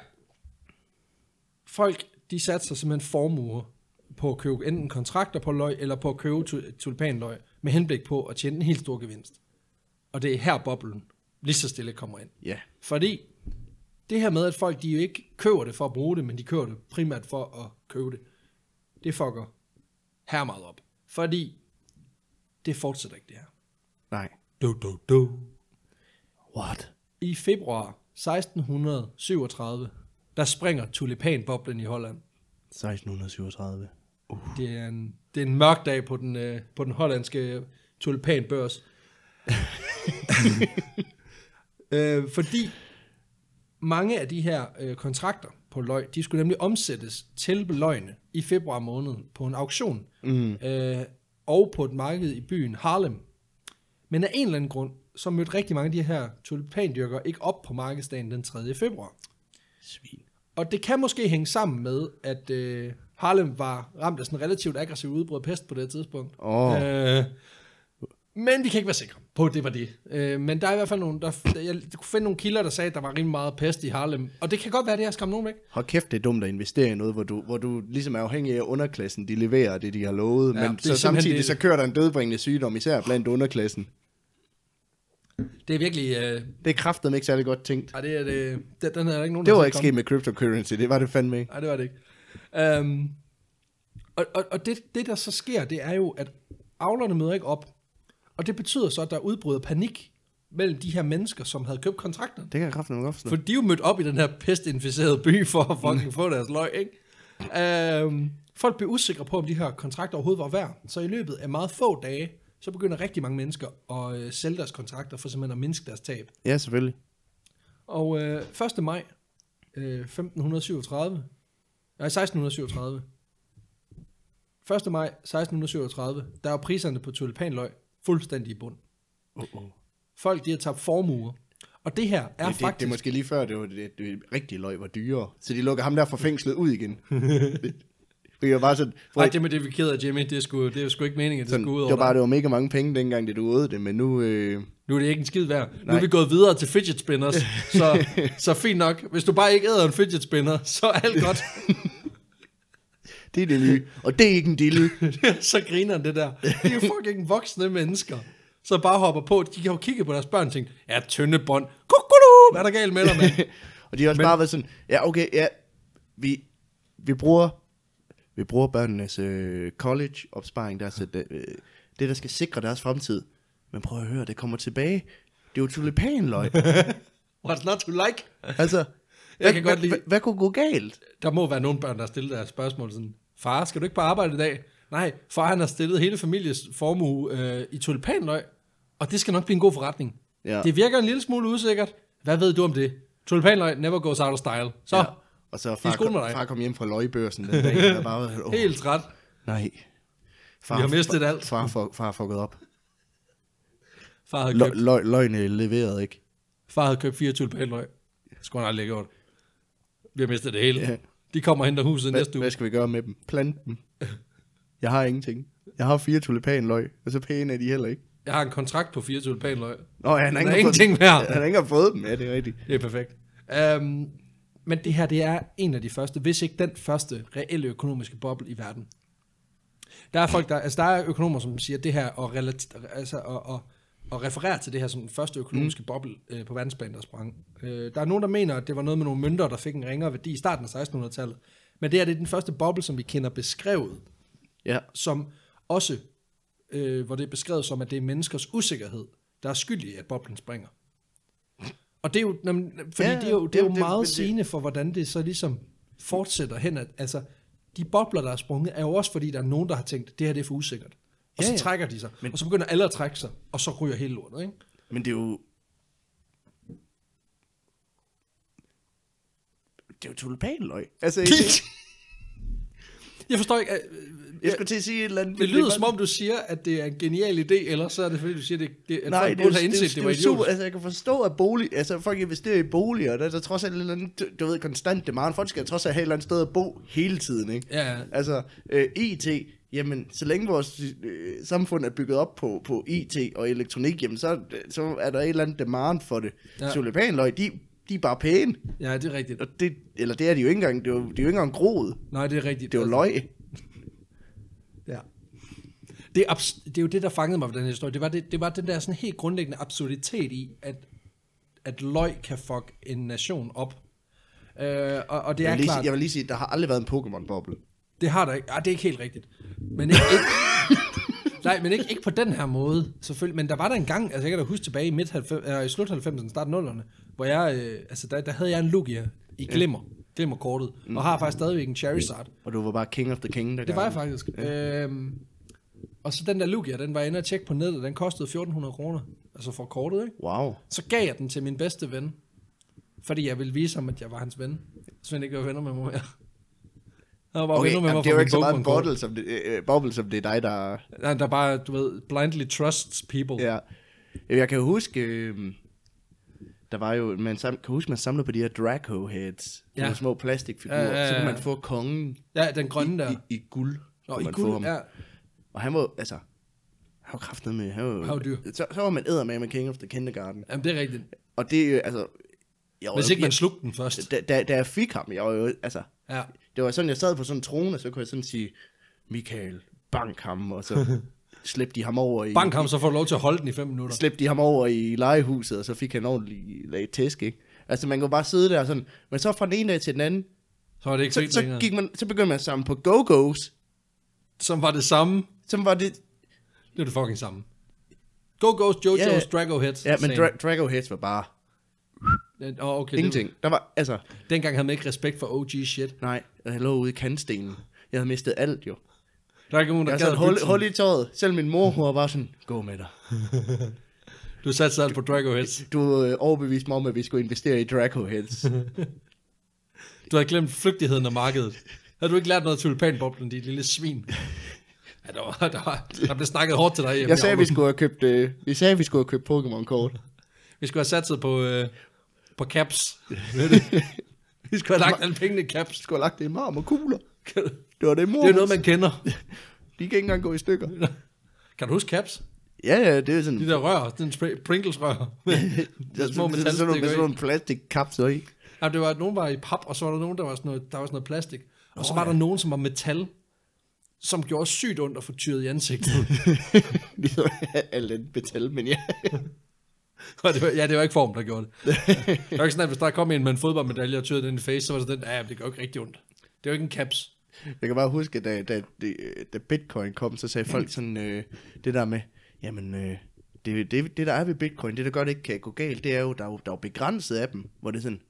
Speaker 2: Folk, de satser simpelthen formuer på at købe enten kontrakter på løg, eller på at købe tu- tulipanløg, med henblik på at tjene en helt stor gevinst. Og det er her boblen lige så stille kommer ind.
Speaker 1: Ja,
Speaker 2: Fordi det her med, at folk de jo ikke køber det for at bruge det, men de køber det primært for at købe det, det fucker her meget op. Fordi det fortsætter ikke det her.
Speaker 1: nej.
Speaker 2: Do, do, do.
Speaker 1: What?
Speaker 2: I februar 1637, der springer tulipanboblen i Holland.
Speaker 1: 1637.
Speaker 2: Uh. Det er en, det er en mørk dag på den, øh, på den hollandske tulipanbørs. øh, fordi mange af de her øh, kontrakter på løg, de skulle nemlig omsættes til løgne i februar måned på en auktion. Mm. Øh, og på et marked i byen Harlem. Men af en eller anden grund, så mødte rigtig mange af de her tulipandyrkere ikke op på markedsdagen den 3. februar.
Speaker 1: Svin.
Speaker 2: Og det kan måske hænge sammen med, at øh, Harlem var ramt af sådan en relativt aggressiv udbrud af pest på det her tidspunkt.
Speaker 1: Åh.
Speaker 2: Øh, men vi kan ikke være sikre på, at det var det. Øh, men der er i hvert fald nogle, der, jeg kunne finde nogle kilder, der sagde, at der var rimelig meget pest i Harlem. Og det kan godt være, at det har skræmt nogen væk.
Speaker 1: Hold kæft, det er dumt at investere i noget, hvor du, hvor du ligesom er afhængig af at underklassen. De leverer det, de har lovet,
Speaker 2: Ja,
Speaker 1: ja, men
Speaker 2: det er
Speaker 1: så
Speaker 2: simpelthen
Speaker 1: samtidig
Speaker 2: det-
Speaker 1: så kører der en dødbringende sygdom, især blandt underklassen.
Speaker 2: Det er virkelig... Øh,
Speaker 1: Det er kraftedeme ikke særlig godt tænkt.
Speaker 2: ej, det er det, den, den er der ikke nogen,
Speaker 1: Det
Speaker 2: der
Speaker 1: var
Speaker 2: ser
Speaker 1: ikke
Speaker 2: komme.
Speaker 1: sket med cryptocurrency, det var det fandme ikke.
Speaker 2: Nej, det var det ikke. Um, og og, og det, det, der så sker, det er jo, at avlerne møder ikke op. Og det betyder så, at der udbryder panik mellem de her mennesker, som havde købt kontrakterne.
Speaker 1: Det kan jeg kraftedeme godt forstå.
Speaker 2: For de er jo mødt op i den her pestinficerede by for at fucking få deres løg, ikke? Um, folk blev usikre på, om de her kontrakter overhovedet var værd. Så i løbet af meget få dage, så begynder rigtig mange mennesker at øh, sælge deres kontrakter for simpelthen at mindske deres tab.
Speaker 1: Ja, selvfølgelig.
Speaker 2: Og øh, 1. maj øh, 1537, nej 1637, 1. maj 1637, der er priserne på tulipanløg fuldstændig i bund.
Speaker 1: Oh, oh.
Speaker 2: Folk de har tabt formuer. Og det her er
Speaker 1: Ja, det,
Speaker 2: faktisk...
Speaker 1: det, det er måske lige før, det var det, det rigtige løg var dyrere. Så de lukker ham der fra fængslet ud igen. det, det var bare sådan,
Speaker 2: Nej, det med det, vi er ked af, Jimmy. Det er sgu, det er sgu ikke meningen, at det
Speaker 1: sådan,
Speaker 2: skulle ud
Speaker 1: det
Speaker 2: over
Speaker 1: var bare,
Speaker 2: dig.
Speaker 1: det var mega mange penge dengang, det du åd det, men nu... Øh,
Speaker 2: Nu er det ikke en skid værd. Nu er
Speaker 1: Nej.
Speaker 2: vi gået videre til fidget spinners. så, så fint nok. Hvis du bare ikke æder en fidget spinner, så er alt godt.
Speaker 1: det er det nye, og det er ikke en dille.
Speaker 2: så griner han det der. Det er jo fucking voksne mennesker, som bare hopper på. De kan jo kigge på deres børn og tænke, ja, tynde bånd. Kukulu, hvad er der galt med dig, mand?
Speaker 1: og de har også
Speaker 2: Men-
Speaker 1: men... bare været sådan, ja okay, ja, vi, vi bruger vi bruger børnenes øh, college-opsparing, der, så det, øh, det, der skal sikre deres fremtid. Men prøv at høre, det kommer tilbage. Det er jo tulipanløg.
Speaker 2: What's not to like?
Speaker 1: altså, jeg
Speaker 2: kan godt lide-
Speaker 1: Hvad, hvad kunne gå galt?
Speaker 2: Der må være nogle børn, der har stillet deres spørgsmål sådan, far, skal du ikke på arbejde i dag? Nej, far han har stillet hele families formue øh, i tulipanløg, og det skal nok blive en god forretning.
Speaker 1: Ja.
Speaker 2: Det virker en lille smule usikkert. Hvad ved du om det? Tulipanløg never goes out of style. Så, ja.
Speaker 1: Og så
Speaker 2: I
Speaker 1: far,
Speaker 2: skole
Speaker 1: kom,
Speaker 2: med dig.
Speaker 1: far kom hjem fra løgbørsen den dag, og der bare var, åh,
Speaker 2: Oh. helt ret.
Speaker 1: nej. Far,
Speaker 2: Vi har mistet alt.
Speaker 1: Far, far, far fucket op.
Speaker 2: Far havde
Speaker 1: Løg,
Speaker 2: købt,
Speaker 1: løg, løgne leverede ikke.
Speaker 2: far havde købt fire tulipanløg. Det skulle han aldrig have gjort. Vi har mistet det hele.
Speaker 1: Ja.
Speaker 2: De kommer og henter huset næste
Speaker 1: Hvad,
Speaker 2: uge.
Speaker 1: hvad skal vi gøre med dem? Plante dem. Jeg har ingenting. Jeg har fire tulipanløg, og så pæne er de heller ikke.
Speaker 2: Jeg har en kontrakt på fire tulipanløg.
Speaker 1: Nå, han
Speaker 2: Der
Speaker 1: har
Speaker 2: er
Speaker 1: ikke
Speaker 2: ingenting
Speaker 1: fået,
Speaker 2: værd.
Speaker 1: Han har ikke engang fået dem, ja, det er rigtigt.
Speaker 2: Det er perfekt. Um, men det her, det er en af de første, hvis ikke den første reelle økonomiske boble i verden. Der er folk, der, altså der er økonomer, som siger det her, og, relater, altså, og, og, og refererer til det her som den første økonomiske mm. boble øh, på verdensplan, der sprang. Øh, der er nogen, der mener, at det var noget med nogle mønter, der fik en ringere værdi i starten af 1600-tallet. Men det her, det er den første boble, som vi kender beskrevet
Speaker 1: Ja.
Speaker 2: som også, øh, hvor det er beskrevet som, at det er menneskers usikkerhed, der er skyld i, at boblen springer. Og det er jo, jamen, fordi ja,
Speaker 1: Ja,
Speaker 2: det er jo, det er jo
Speaker 1: jamen, det-
Speaker 2: det,
Speaker 1: men
Speaker 2: meget
Speaker 1: det-
Speaker 2: det, sigende for, hvordan det så ligesom fortsætter hen. At, altså, de bobler, der er sprunget, er jo også fordi, der er nogen, der har tænkt, det her det er for usikkert. Og ja,
Speaker 1: Ja,
Speaker 2: så
Speaker 1: ja.
Speaker 2: trækker de sig, men, og så begynder alle at trække sig, og så ryger hele lortet, ikke?
Speaker 1: Men det er jo... Det er jo tulipanløg. Altså,
Speaker 2: Jeg forstår ikke, øh,
Speaker 1: Jeg skulle til at sige et eller andet.
Speaker 2: Det lyder som om, du siger, at det er en genial idé, eller så er det fordi, du siger, det, det, at
Speaker 1: Nej,
Speaker 2: folk
Speaker 1: det er,
Speaker 2: burde
Speaker 1: jo-
Speaker 2: have
Speaker 1: det, er,
Speaker 2: indset,
Speaker 1: det,
Speaker 2: det, var
Speaker 1: det er super,
Speaker 2: idiotisk.
Speaker 1: altså jeg kan forstå, at bolig, altså folk investerer i boliger, og der er der trods alt et eller andet, du, du ved, konstant demand. Folk skal trods alt have et eller andet sted at bo hele tiden, ikke?
Speaker 2: Ja, ja.
Speaker 1: Altså, øh, IT, jamen, så længe vores øh, samfund er bygget op på, på IT og elektronik, jamen, så, så er der et eller andet demand for det.
Speaker 2: Ja.
Speaker 1: Ja. Tulipanløg, de, de er bare pæne,
Speaker 2: ja, det er rigtigt.
Speaker 1: og det, eller det er de jo ikke engang, det er jo, de er jo ikke engang groet,
Speaker 2: Nej, det er rigtigt.
Speaker 1: det er jo
Speaker 2: Altså,
Speaker 1: løg.
Speaker 2: Ja. Det er, abs- det er jo det, der fangede mig ved den her historie. Det var, det, det var den der sådan helt grundlæggende absurditet i, at, at løg kan fuck en nation op. Øh, og, og det
Speaker 1: Jeg
Speaker 2: er
Speaker 1: vil, lige,
Speaker 2: klart,
Speaker 1: sige- jeg vil lige sige, der har aldrig været en Pokémon-boble.
Speaker 2: det har der ikke. Ah, det er ikke helt rigtigt. Men ikke, ikke Nej, men ikke, ikke på den her måde, selvfølgelig. Men der var der en gang, altså jeg kan da huske tilbage i, midt 90, øh, i slut 90'erne, start 0'erne, hvor jeg, øh, altså der, der havde jeg en Lugia i glimmer, glimmerkortet,
Speaker 1: Mm.
Speaker 2: og har faktisk stadigvæk en Charizard.
Speaker 1: Og du var bare king of the king der
Speaker 2: Det var jeg faktisk. Ja. Øhm, og så den der Lugia, den var jeg inde og tjekke på nettet, den kostede 1400 kroner, altså for kortet, ikke?
Speaker 1: Wow.
Speaker 2: Så gav jeg den til min bedste ven, fordi jeg ville vise ham, at jeg var hans ven. Svend ikke var venner med mig mere. Han var bare
Speaker 1: Okay,
Speaker 2: venner med
Speaker 1: jamen,
Speaker 2: mig
Speaker 1: det er jo ikke så meget en
Speaker 2: en bottle.
Speaker 1: bottle, som det, øh, bobble, som det er dig, der...
Speaker 2: Nej, der bare, du ved, blindly trusts people.
Speaker 1: Ja. Jamen, Jeg kan jo huske... Øh, der var jo... Man sam, kan huske, man samlede på de her Draco heads. Ja.
Speaker 2: Ja.
Speaker 1: Nogle små plastikfigurer.
Speaker 2: Ja, ja, ja,
Speaker 1: Så kan
Speaker 2: ja.
Speaker 1: man få kongen
Speaker 2: ja den grønne der.
Speaker 1: i, i guld.
Speaker 2: Nå,
Speaker 1: kunne
Speaker 2: i
Speaker 1: man få
Speaker 2: guld,
Speaker 1: ham.
Speaker 2: ja.
Speaker 1: Og han var jo, altså... Han var kraftet med... Han var, jo-
Speaker 2: Han var dyr.
Speaker 1: Så, så var man æder med med King of the Kindergarten.
Speaker 2: Jamen, det er rigtigt.
Speaker 1: Og det er jo, altså... Jeg var
Speaker 2: Hvis
Speaker 1: jo-
Speaker 2: ikke man
Speaker 1: jeg-
Speaker 2: slugte den først.
Speaker 1: da, da, da jeg fik ham, jeg var jo, altså,
Speaker 2: Ja.
Speaker 1: det var sådan, jeg sad på sådan en trone, og så kunne jeg sådan sige, Michael, bank ham, og så slæbte de ham over i...
Speaker 2: Bank ham, så får du lov til at holde den i 5 minutter.
Speaker 1: slæbte de ham over i legehuset, og så fik han ordentlig lag tæsk, ikke? Altså, man kunne bare sidde der og sådan, men så fra den ene dag til den anden,
Speaker 2: Så var det ikke
Speaker 1: så,
Speaker 2: fedt
Speaker 1: så,
Speaker 2: længere.
Speaker 1: gik man, så begyndte man sammen på go-go's,
Speaker 2: Som var det samme.
Speaker 1: som var det,
Speaker 2: Det er det fucking samme. Go Ghost, Jojo's,
Speaker 1: Ja, ja.
Speaker 2: Drago Heads.
Speaker 1: ja, men
Speaker 2: same.
Speaker 1: Dra- Drago Heads var bare
Speaker 2: Den- Åh, okay. Ingenting.
Speaker 1: ingenting. Der var, altså,
Speaker 2: Det, dengang havde man ikke respekt for OG shit.
Speaker 1: nej, jeg lå ude i kantstenen. Jeg havde mistet alt, jo.
Speaker 2: Der er ikke nogen, der
Speaker 1: Jeg
Speaker 2: gad
Speaker 1: sad
Speaker 2: at
Speaker 1: hul,
Speaker 2: bytte
Speaker 1: hul i tøjet. Selv min mor, hun var bare sådan, gå med dig.
Speaker 2: sådan. Du satte sig alt på Drago Heads.
Speaker 1: Du øh, overbeviste mig om, at vi skulle investere i Draco Heads.
Speaker 2: Du havde glemt flygtigheden af markedet. Havde du ikke lært noget af tulipanboblen, dit lille svin? Ja, der, var, der, var, der blev snakket hårdt til dig. hjemme.
Speaker 1: Jeg sagde, at vi skulle have købt, øh, vi sagde, at vi skulle have købt Pokémon-kort.
Speaker 2: vi skulle have satset på, øh, på caps. Ved du det? vi skulle have lagt alle pengene i caps.
Speaker 1: Vi skulle have lagt det i marmorkugler. Det var det, mor.
Speaker 2: Det er noget, man kender.
Speaker 1: De kan ikke engang gå i stykker.
Speaker 2: Kan du huske caps?
Speaker 1: Ja, ja, det er sådan...
Speaker 2: De der rør, den Pringles-rør.
Speaker 1: Det er
Speaker 2: små
Speaker 1: sådan, sådan, nogle-
Speaker 2: metalstikker
Speaker 1: med
Speaker 2: i.
Speaker 1: sådan nogle plastikkapsler i.
Speaker 2: Ja, det var, nogen var i pap, og så var der nogen, der var sådan noget, der var sådan noget plastik. Og så var der nogen, som var metal, som gjorde sygt ondt at få tyret i ansigtet.
Speaker 1: Ligesom alt andet metal, men ja.
Speaker 2: og det var, ja, det var ikke form, der gjorde det. det var ikke sådan, at hvis der kom en med en fodboldmedalje og tyrede den i face, så var det sådan, ja, det gør ikke rigtig ondt. Det var ikke en caps.
Speaker 1: Jeg kan bare huske, da, da, da- da bitcoin kom, så sagde folk sådan øh, det der med, jamen, øh, det, det, det der er ved bitcoin, det der gør det ikke kan gå galt, det er jo, der er jo, der er jo begrænset af dem, hvor det er sådan,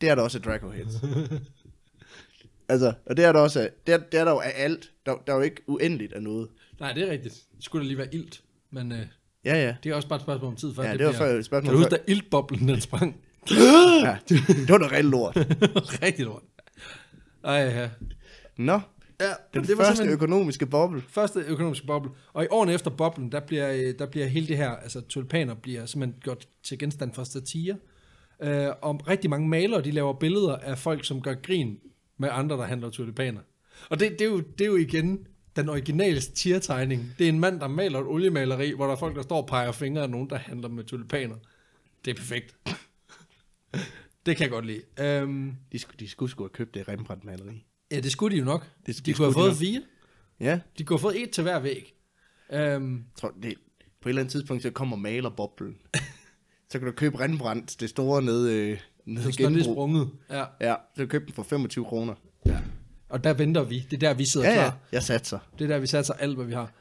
Speaker 1: det er der også af Draco Heads. altså, og det er der også af, det er, det er der jo af alt, der, der er jo ikke uendeligt af noget.
Speaker 2: Nej, det er rigtigt. Det skulle da lige være ilt, men øh,
Speaker 1: Ja, ja.
Speaker 2: det er også bare et spørgsmål om tid. Før
Speaker 1: Ja, det var før et spørgsmål
Speaker 2: Kan du huske,
Speaker 1: før-
Speaker 2: da iltboblen den sprang?
Speaker 1: ja det var noget rigtig lort.
Speaker 2: rigtig lort. Ej, ja.
Speaker 1: Nå,
Speaker 2: ja
Speaker 1: den
Speaker 2: det var
Speaker 1: første
Speaker 2: simpelthen-
Speaker 1: økonomiske boble.
Speaker 2: Første økonomiske boble. Og i årene efter boblen, der bliver, øh, der bliver hele det her, altså tulipaner bliver simpelthen gjort til genstand for satire. Øh, og rigtig mange malere, de laver billeder af folk, som gør grin med andre, der handler tulipaner. Og det, det, er, jo, det er jo igen den originale satiretegning. Det er en mand, der maler et oliemaleri, hvor der er folk, der står og peger fingre af nogen, der handler med tulipaner. Det er perfekt. det kan jeg godt lide. Øhm,
Speaker 1: De skulle, de skulle, skulle have købt det Rembrandt-maleri.
Speaker 2: ja, det skulle de jo nok.
Speaker 1: Det-
Speaker 2: de
Speaker 1: det
Speaker 2: kunne have
Speaker 1: skulle de
Speaker 2: fået
Speaker 1: nok.
Speaker 2: fire.
Speaker 1: Ja,
Speaker 2: De kunne have fået et til hver væg. Øhm,
Speaker 1: Jeg tror, det, på et eller andet tidspunkt, så kommer malerboblen. så kan du købe Rembrandt, det store nede, øh, nede i
Speaker 2: Så er det
Speaker 1: genbrug.
Speaker 2: sprunget. Ja.
Speaker 1: Ja, så kan du købe den for 25 kroner.
Speaker 2: ja. Og der venter vi. Det er der, vi sidder
Speaker 1: Ja,
Speaker 2: klar.
Speaker 1: ja, jeg satser.
Speaker 2: Det er der, vi satser alt, hvad vi har.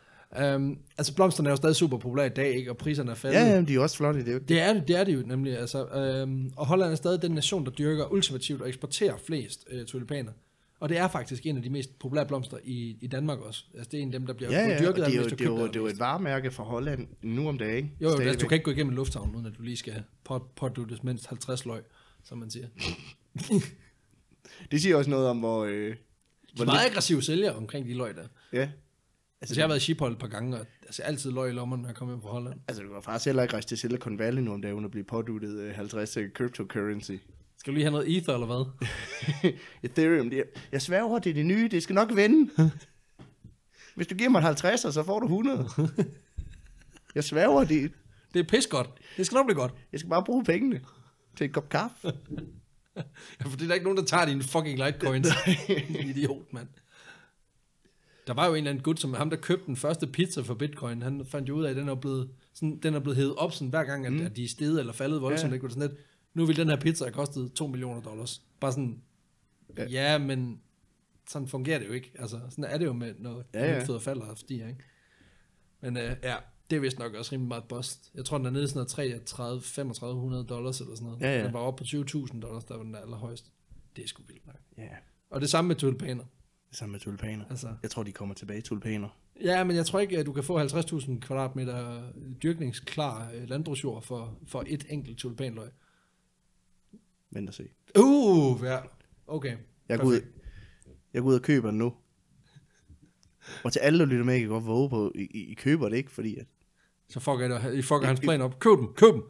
Speaker 2: Um, altså, blomsterne er jo stadig super populære i dag, ikke? og priserne er faldet.
Speaker 1: Ja, ja, men de er jo også flotte. Det er jo ikke-
Speaker 2: Det er det, det er det jo nemlig. Altså, øhm, og Holland er stadig den nation, der dyrker ultimativt og eksporterer flest øh, tulipaner. Og det er faktisk en af de mest populære blomster i, i Danmark også. Altså, det er en af dem, der bliver
Speaker 1: Ja, ja, og
Speaker 2: dyrket
Speaker 1: det er jo,
Speaker 2: allermest og
Speaker 1: det er jo,
Speaker 2: købt
Speaker 1: det er jo
Speaker 2: allermest.
Speaker 1: et varemærke fra Holland nu om dagen.
Speaker 2: Jo, jo altså,
Speaker 1: stadigvæk.
Speaker 2: du kan ikke gå igennem en lufthavn, uden at du lige skal pot- potduttes mindst 50 løg, som man siger.
Speaker 1: Det siger også noget om, hvor, øh,
Speaker 2: De er meget aggressive sælgere omkring de løg der.
Speaker 1: Ja.
Speaker 2: Altså, jeg har været i Schiphol et par gange, og altså, altid løg i lommerne, når jeg kommer hjem fra Holland.
Speaker 1: Altså, du var faktisk heller ikke rejst til Silicon Valley nu om dagen, uden at blive påduttet øh, 50 cryptocurrency.
Speaker 2: Skal du lige have noget ether eller hvad?
Speaker 1: Ethereum, det er, jeg sværger, det er det nye, det skal nok vende. Hvis du giver mig en 50, så får du 100. Jeg sværger, det,
Speaker 2: Det er pis godt. Det skal nok blive godt.
Speaker 1: jeg skal bare bruge pengene til en kop kaffe.
Speaker 2: Ja, for det er der ikke nogen, der tager dine fucking litecoins. Din Idiot, mand. Der var jo en eller anden gut, som ham, der købte den første pizza for bitcoin. Han fandt jo ud af, at den er blevet, sådan, den er blevet hævet op sådan, hver gang, at, mm. at de er steget eller faldet voldsomt.
Speaker 1: Ja.
Speaker 2: Ja. Det sådan lidt, nu vil den her pizza have kostet 2 millioner dollars. Bare sådan,
Speaker 1: Ja.
Speaker 2: ja. ja, men sådan fungerer det jo ikke. Altså, sådan er det jo med, når
Speaker 1: Ja,
Speaker 2: ja,
Speaker 1: ja.
Speaker 2: ja. fødder falder og stiger, ikke? Men øh, ja, det er vist nok også rimelig meget bust. Jeg tror, den er nede i sådan noget 33, 3500 dollars eller sådan noget.
Speaker 1: Ja, ja.
Speaker 2: Den var oppe på 20.000 dollars, der var den der allerhøjeste. Det er sgu vildt nok.
Speaker 1: Ja, yeah.
Speaker 2: Og det samme med tulipaner.
Speaker 1: det samme med tulipaner.
Speaker 2: Altså.
Speaker 1: Jeg tror, de kommer tilbage, tulipaner.
Speaker 2: Ja, men jeg tror ikke, at du kan få 50.000 kvadratmeter dyrkningsklar øh, landbrugsjord for, for et enkelt tulipanløg.
Speaker 1: Vent og se.
Speaker 2: Uh, ja. Okay.
Speaker 1: Jeg går, ud, jeg går ud og køber den nu. Og til alle, der lytter med, jeg kan godt våge på, I, I, I køber det ikke, fordi at...
Speaker 2: Så fucker, jeg, det- I fucker hans plan op. Køb dem, køb dem.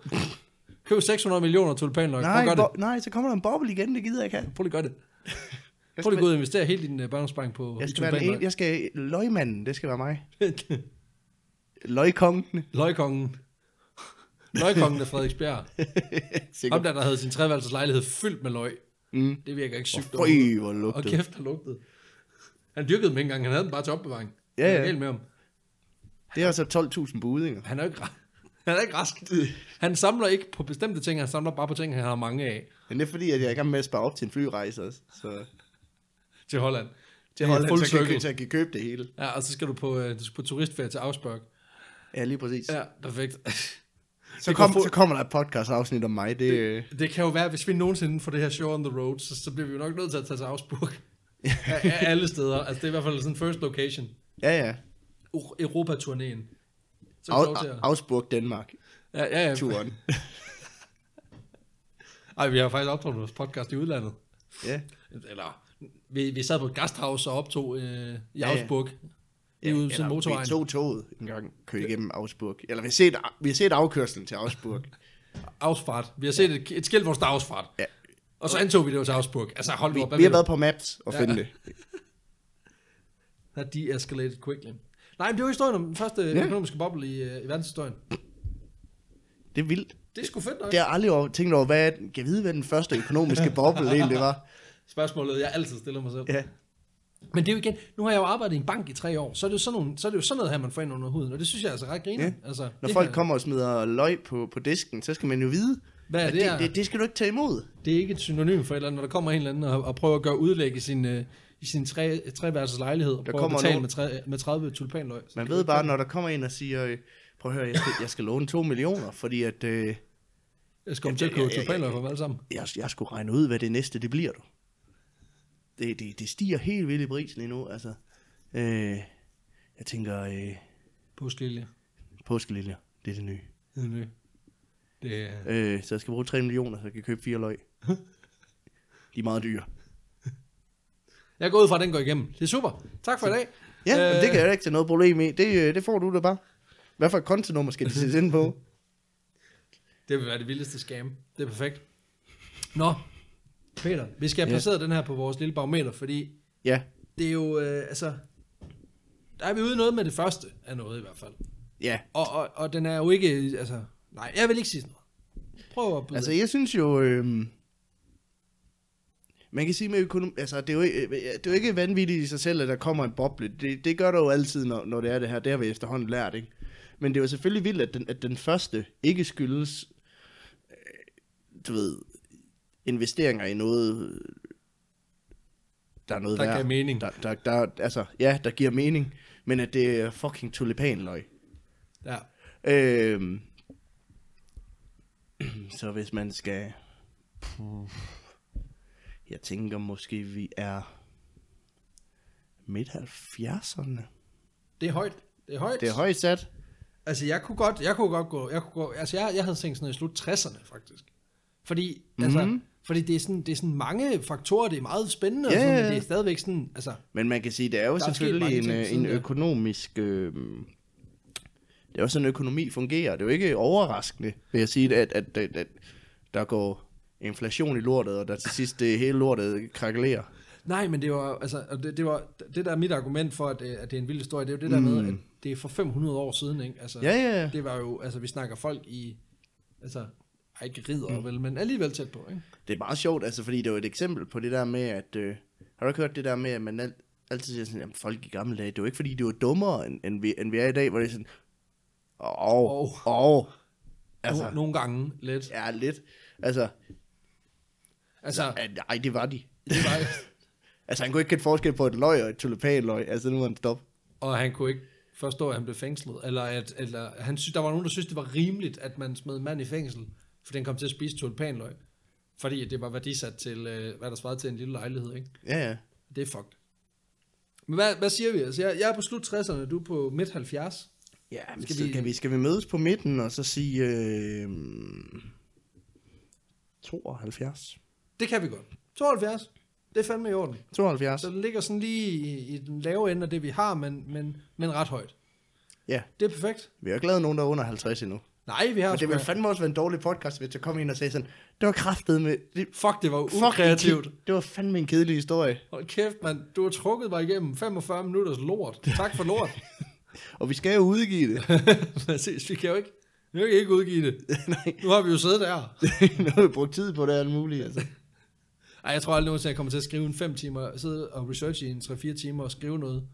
Speaker 2: Køb 600 millioner tulipanløg. Prøv at
Speaker 1: Nej,
Speaker 2: gøre det.
Speaker 1: bo- nej, så kommer der en boble igen, det gider jeg ikke have.
Speaker 2: Prøv lige at gøre det.
Speaker 1: Jeg skal,
Speaker 2: Prøv lige at gå ud og investere hele din uh, barndomsbank på
Speaker 1: jeg
Speaker 2: i
Speaker 1: skal være den ene,
Speaker 2: tulipanløg.
Speaker 1: jeg skal... Løgmanden, det skal være mig. Løgkongen.
Speaker 2: Løgkongen. Løgkongen af Frederiksbjerg. Ham
Speaker 1: Sikkert.
Speaker 2: der, der havde sin treværelses lejlighed fyldt med løg.
Speaker 1: Mm.
Speaker 2: Det virker ikke sygt.
Speaker 1: Føj,
Speaker 2: overhovedet.
Speaker 1: hvor
Speaker 2: Og
Speaker 1: lugtede.
Speaker 2: kæft, der lugtede. Han dyrkede dem ikke engang, han havde dem bare til opbevaring.
Speaker 1: Ja,
Speaker 2: Det er
Speaker 1: ja.
Speaker 2: galt med ham.
Speaker 1: Det er altså 12.000 budinger.
Speaker 2: Han er jo ikke, ra- han er ikke rask. Han samler ikke på bestemte ting, han samler bare på ting, han har mange af
Speaker 1: Men det er fordi, at jeg er i gang med at spare op til en flyrejse også. Så
Speaker 2: til Holland.
Speaker 1: til
Speaker 2: Det er full
Speaker 1: Holland, så jeg,
Speaker 2: circle.
Speaker 1: kan, så jeg kan købe det hele.
Speaker 2: Ja, og så skal du på, øh, du skal på turistferie til Augsburg.
Speaker 1: Ja, lige præcis. Ja.
Speaker 2: Ja, perfekt.
Speaker 1: Så,
Speaker 2: Det går
Speaker 1: kom,
Speaker 2: fu-
Speaker 1: så kommer der et podcast afsnit om mig. Det, øh,
Speaker 2: Det kan jo være, hvis vi nogensinde får det her show on the road, så, så bliver vi jo nok nødt til at tage til Augsburg. af, af alle steder. Altså, det er i hvert fald sådan first location.
Speaker 1: ja, ja.
Speaker 2: Ur- Europa-turnéen. Så kan vi få lov til
Speaker 1: Au,
Speaker 2: at...
Speaker 1: Augsburg, Danmark.
Speaker 2: Ja, ja, ja.
Speaker 1: Turen.
Speaker 2: Ej, vi har faktisk optaget vores podcast i udlandet.
Speaker 1: ja.
Speaker 2: Eller, vi, vi sad på et gasthaus og optog øh, i
Speaker 1: ja.
Speaker 2: Augsburg. Ja, ja. Ude til motorvejen.
Speaker 1: Vi tog toget en gang køre igennem Augsburg. Eller vi har set, vi har set afkørslen til Augsburg.
Speaker 2: Ausfart. Vi har set et, et skilt, hvor der står Ausfart.
Speaker 1: Ja.
Speaker 2: Og så antog vi det jo til Augsburg. Altså, hold nu op.
Speaker 1: vi,
Speaker 2: hvad
Speaker 1: vi har
Speaker 2: ved
Speaker 1: været på Maps og
Speaker 2: Ja.
Speaker 1: finde det.
Speaker 2: du? That de-escalated quickly. Nej, men det var historien om den første
Speaker 1: Ja.
Speaker 2: ja. økonomiske boble i, øh, i verdenshistorien.
Speaker 1: Det er vildt.
Speaker 2: Det er sgu fedt nok.
Speaker 1: Det har jeg aldrig over, tænkt over, hvad, kan jeg vide, hvad den første økonomiske boble egentlig var?
Speaker 2: Spørgsmålet, jeg altid stiller mig selv.
Speaker 1: Ja.
Speaker 2: Men det er jo igen, nu har jeg jo arbejdet i en bank i tre år, så er det jo sådan, nogle, så er det jo sådan noget her, man får ind under huden, og det synes jeg er altså ret griner.
Speaker 1: Ja.
Speaker 2: Altså,
Speaker 1: Når
Speaker 2: det
Speaker 1: folk
Speaker 2: her-
Speaker 1: kommer og smider løg på, på disken, så skal man jo vide,
Speaker 2: Hvad er
Speaker 1: at
Speaker 2: det her?
Speaker 1: det, det, det skal du ikke tage imod.
Speaker 2: Det er ikke et synonym for et eller andet, når der kommer en eller anden og, og prøver at gøre udlæg i sin, øh, i sin tre, treværelses lejlighed, og
Speaker 1: Der
Speaker 2: prøver at
Speaker 1: kommer
Speaker 2: betale
Speaker 1: nogen-
Speaker 2: med, tre, med 30 tulipanløg. Så
Speaker 1: Man
Speaker 2: kan du
Speaker 1: ved
Speaker 2: ikke
Speaker 1: bare, når der kommer en og siger, øh, prøv at høre, jeg skal, jeg skal låne 2 millioner, fordi at, øh,
Speaker 2: Jeg skal komme til at
Speaker 1: Ja, ja,
Speaker 2: købe
Speaker 1: ja, ja,
Speaker 2: tulipanløg for dem alle sammen.
Speaker 1: jeg, jeg skulle regne ud, hvad det næste det bliver, du. Det, det, det stiger helt vildt i pris lige nu, altså. Øh, jeg tænker, øh,
Speaker 2: Påskelilje.
Speaker 1: påskeliljer, det er det nye.
Speaker 2: Det, det er...
Speaker 1: Øh, så jeg skal bruge 3 millioner, så jeg kan købe fire løg. De er meget dyre.
Speaker 2: Jeg går ud fra, at den går igennem. Det er super. Tak for i dag.
Speaker 1: Ja, øh,
Speaker 2: Øh,
Speaker 1: det kan jeg da ikke tage noget problem i. Det, øh, det får du da bare. Hvad for et kontonummer skal de sættes ind på?
Speaker 2: Øh, Det vil være det vildeste scam. Det er perfekt. Nå, Peter, vi skal have placeret den her på vores lille barometer, fordi
Speaker 1: Ja,
Speaker 2: det er jo, øh, altså, der er vi ude i noget med det første af noget i hvert fald.
Speaker 1: ja.
Speaker 2: Og, og, og den er jo ikke, altså, nej, jeg vil ikke sige sådan noget. Prøv at byde.
Speaker 1: Altså,
Speaker 2: Altså,
Speaker 1: jeg synes jo... Øh, man kan sige med økonomi... Altså, det er, jo, ikke- øh, det er jo ikke vanvittigt i sig selv, at der kommer en boble. Det, det gør der jo altid, når, når det er det her. Det har vi efterhånden lært, ikke? Men det er jo selvfølgelig vildt, at den, at den første ikke skyldes... Øh, du ved... Investeringer i noget... øh, Der er noget
Speaker 2: Der
Speaker 1: værd.
Speaker 2: giver mening.
Speaker 1: Der, der, der, altså, ja, der giver mening. Men at det er fucking tulipanløg.
Speaker 2: ja.
Speaker 1: Øhm. Så hvis man skal... Puh. Jeg tænker måske, vi er midt 70'erne.
Speaker 2: Det er højt. Det er højt.
Speaker 1: Det er højt sat.
Speaker 2: Altså, jeg kunne godt, jeg kunne godt gå, jeg kunne gå, altså, jeg, jeg havde tænkt sådan noget i slut 60'erne, faktisk. Fordi, mm-hmm. altså, Fordi det er, sådan, det er sådan mange faktorer, det er meget spændende,
Speaker 1: Mhm. Ja,
Speaker 2: og sådan,
Speaker 1: ja,
Speaker 2: men
Speaker 1: ja.
Speaker 2: det er stadigvæk sådan, altså,
Speaker 1: Men man kan sige, det er jo
Speaker 2: Der er sket
Speaker 1: selvfølgelig
Speaker 2: mange
Speaker 1: en,
Speaker 2: ting
Speaker 1: øh,
Speaker 2: siden
Speaker 1: en
Speaker 2: da.
Speaker 1: økonomisk... Øh, det er jo sådan, økonomi fungerer. Det er jo ikke overraskende, vil jeg sige, at, at, at, at der går inflation i lortet, og der til sidst det hele lortet krakelerer.
Speaker 2: nej, men det var, altså, og det, det var, det der er mit argument for, at, øh, at det er en vild historie, det er jo det der med, at det er for 500 år siden, ikke? Altså,
Speaker 1: Mm. Ja, ja, ja.
Speaker 2: Det var jo, altså, vi snakker folk i, altså, ej, ikke ridder
Speaker 1: Mm.
Speaker 2: vel, men alligevel tæt på, ikke?
Speaker 1: Det er meget sjovt, altså, fordi det er jo et eksempel på det der med, at... Øh, har du ikke hørt det der med, at man al- altid siger sådan, jamen folk i gamle dage, det var ikke fordi, det var dummere, end, end, vi, end vi er i dag, hvor det er sådan, åh,
Speaker 2: Åh.
Speaker 1: åh, åh.
Speaker 2: Altså,
Speaker 1: Altså,
Speaker 2: nogle gange lidt.
Speaker 1: ja, lidt. Altså,
Speaker 2: Altså,
Speaker 1: nej, det var de.
Speaker 2: det var,
Speaker 1: Altså, han kunne ikke kende forskel på et løg og et tulipanløg. Altså, nu er han stop.
Speaker 2: og han kunne ikke forstå, at han blev fængslet, eller at eller han sy- der var nogen, der synes det var rimeligt, at man smed en mand i fængsel, for den kom til at spise tulipanløg, fordi det var værdisat til, øh, hvad der svarede til en lille lejlighed, ikke?
Speaker 1: Ja, ja.
Speaker 2: Det er fucked. Men hvad, hvad siger vi? Altså, jeg, jeg er på slut 60'erne, du er på midt 70.
Speaker 1: Ja, men
Speaker 2: Skal
Speaker 1: skal, vi...
Speaker 2: vi-
Speaker 1: Skal, vi, skal vi mødes på midten og så sige... Øh, 72.
Speaker 2: Det kan vi godt. 72. Det er fandme i orden.
Speaker 1: 72.
Speaker 2: Så den ligger sådan lige i, i den lave ende af det, vi har, men, men, men ret højt.
Speaker 1: Ja,
Speaker 2: Det er perfekt.
Speaker 1: vi har ikke lavet nogen, der er under 50 endnu.
Speaker 2: Nej, vi har
Speaker 1: Og det
Speaker 2: sgu
Speaker 1: ville fandme også være en dårlig podcast, hvis jeg kom ind og sagde sådan, det var kraftet med... Det,
Speaker 2: Fuck, det var
Speaker 1: fuck,
Speaker 2: ukreativt.
Speaker 1: Det var fandme en kedelig historie.
Speaker 2: Hold kæft, mand. Du har trukket mig igennem 45 minutters lort. Tak for lort.
Speaker 1: Og vi skal jo udgive det.
Speaker 2: Præcis, vi kan jo ikke, vi kan ikke udgive det.
Speaker 1: Nej,
Speaker 2: Nu har vi jo siddet der.
Speaker 1: nu har vi brugt tid på det og alt muligt. Altså.
Speaker 2: Ej, jeg tror aldrig nogensinde, jeg kommer til at skrive en 5 timer, sidde og researche i en 3-4 timer og skrive noget,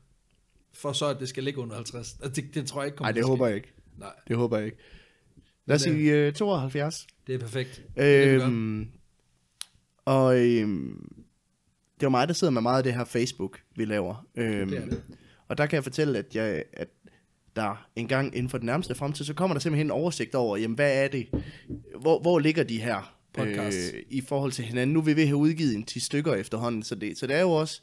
Speaker 2: for så at det skal ligge under 50. Altså, det, det tror jeg ikke kommer
Speaker 1: Nej, det
Speaker 2: til
Speaker 1: håber
Speaker 2: at
Speaker 1: jeg ikke.
Speaker 2: ske. Nej,
Speaker 1: Det håber jeg ikke. Lad os
Speaker 2: Men,
Speaker 1: sige øh, 72.
Speaker 2: det er perfekt. Det kan vi
Speaker 1: Øhm, og øhm, det er jo mig, der sidder med meget af det her Facebook, vi laver. Øhm,
Speaker 2: Det er det.
Speaker 1: Og der kan jeg fortælle, at, jeg, at der engang inden for den nærmeste fremtid, så kommer der simpelthen en oversigt over, jamen hvad er det? Hvor, hvor ligger de her øh,
Speaker 2: Podcasts.
Speaker 1: i forhold til hinanden? Nu er vi ved at have udgivet en 10 stykker efterhånden, så det, så det er jo også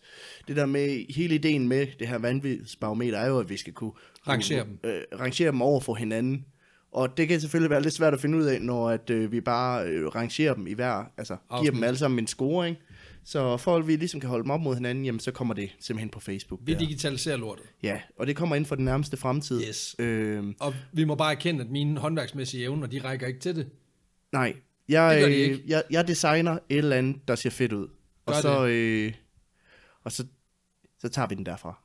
Speaker 1: det der med, hele ideen med det her vanvidsbarometer er jo, at vi skal kunne
Speaker 2: Rangere dem.
Speaker 1: øh, rangere dem over for hinanden. Og det kan selvfølgelig være lidt svært at finde ud af, når at, øh, vi bare øh, rangerer dem i hver, altså Afsnit. giver
Speaker 2: Afsnit.
Speaker 1: dem alle sammen en scoring. Så for at vi ligesom kan holde dem op mod hinanden, jamen, så kommer det simpelthen på Facebook.
Speaker 2: Vi
Speaker 1: der.
Speaker 2: digitaliserer lortet.
Speaker 1: Ja, og det kommer inden for den nærmeste fremtid.
Speaker 2: Yes.
Speaker 1: Øh,
Speaker 2: Og vi må bare erkende, at mine håndværksmæssige evner, de rækker ikke til det.
Speaker 1: nej, jeg,
Speaker 2: Det gør de
Speaker 1: øh,
Speaker 2: ikke.
Speaker 1: jeg, jeg designer et eller andet, der ser fedt ud. Og,
Speaker 2: Gør
Speaker 1: så, øh, og så, så tager vi den derfra,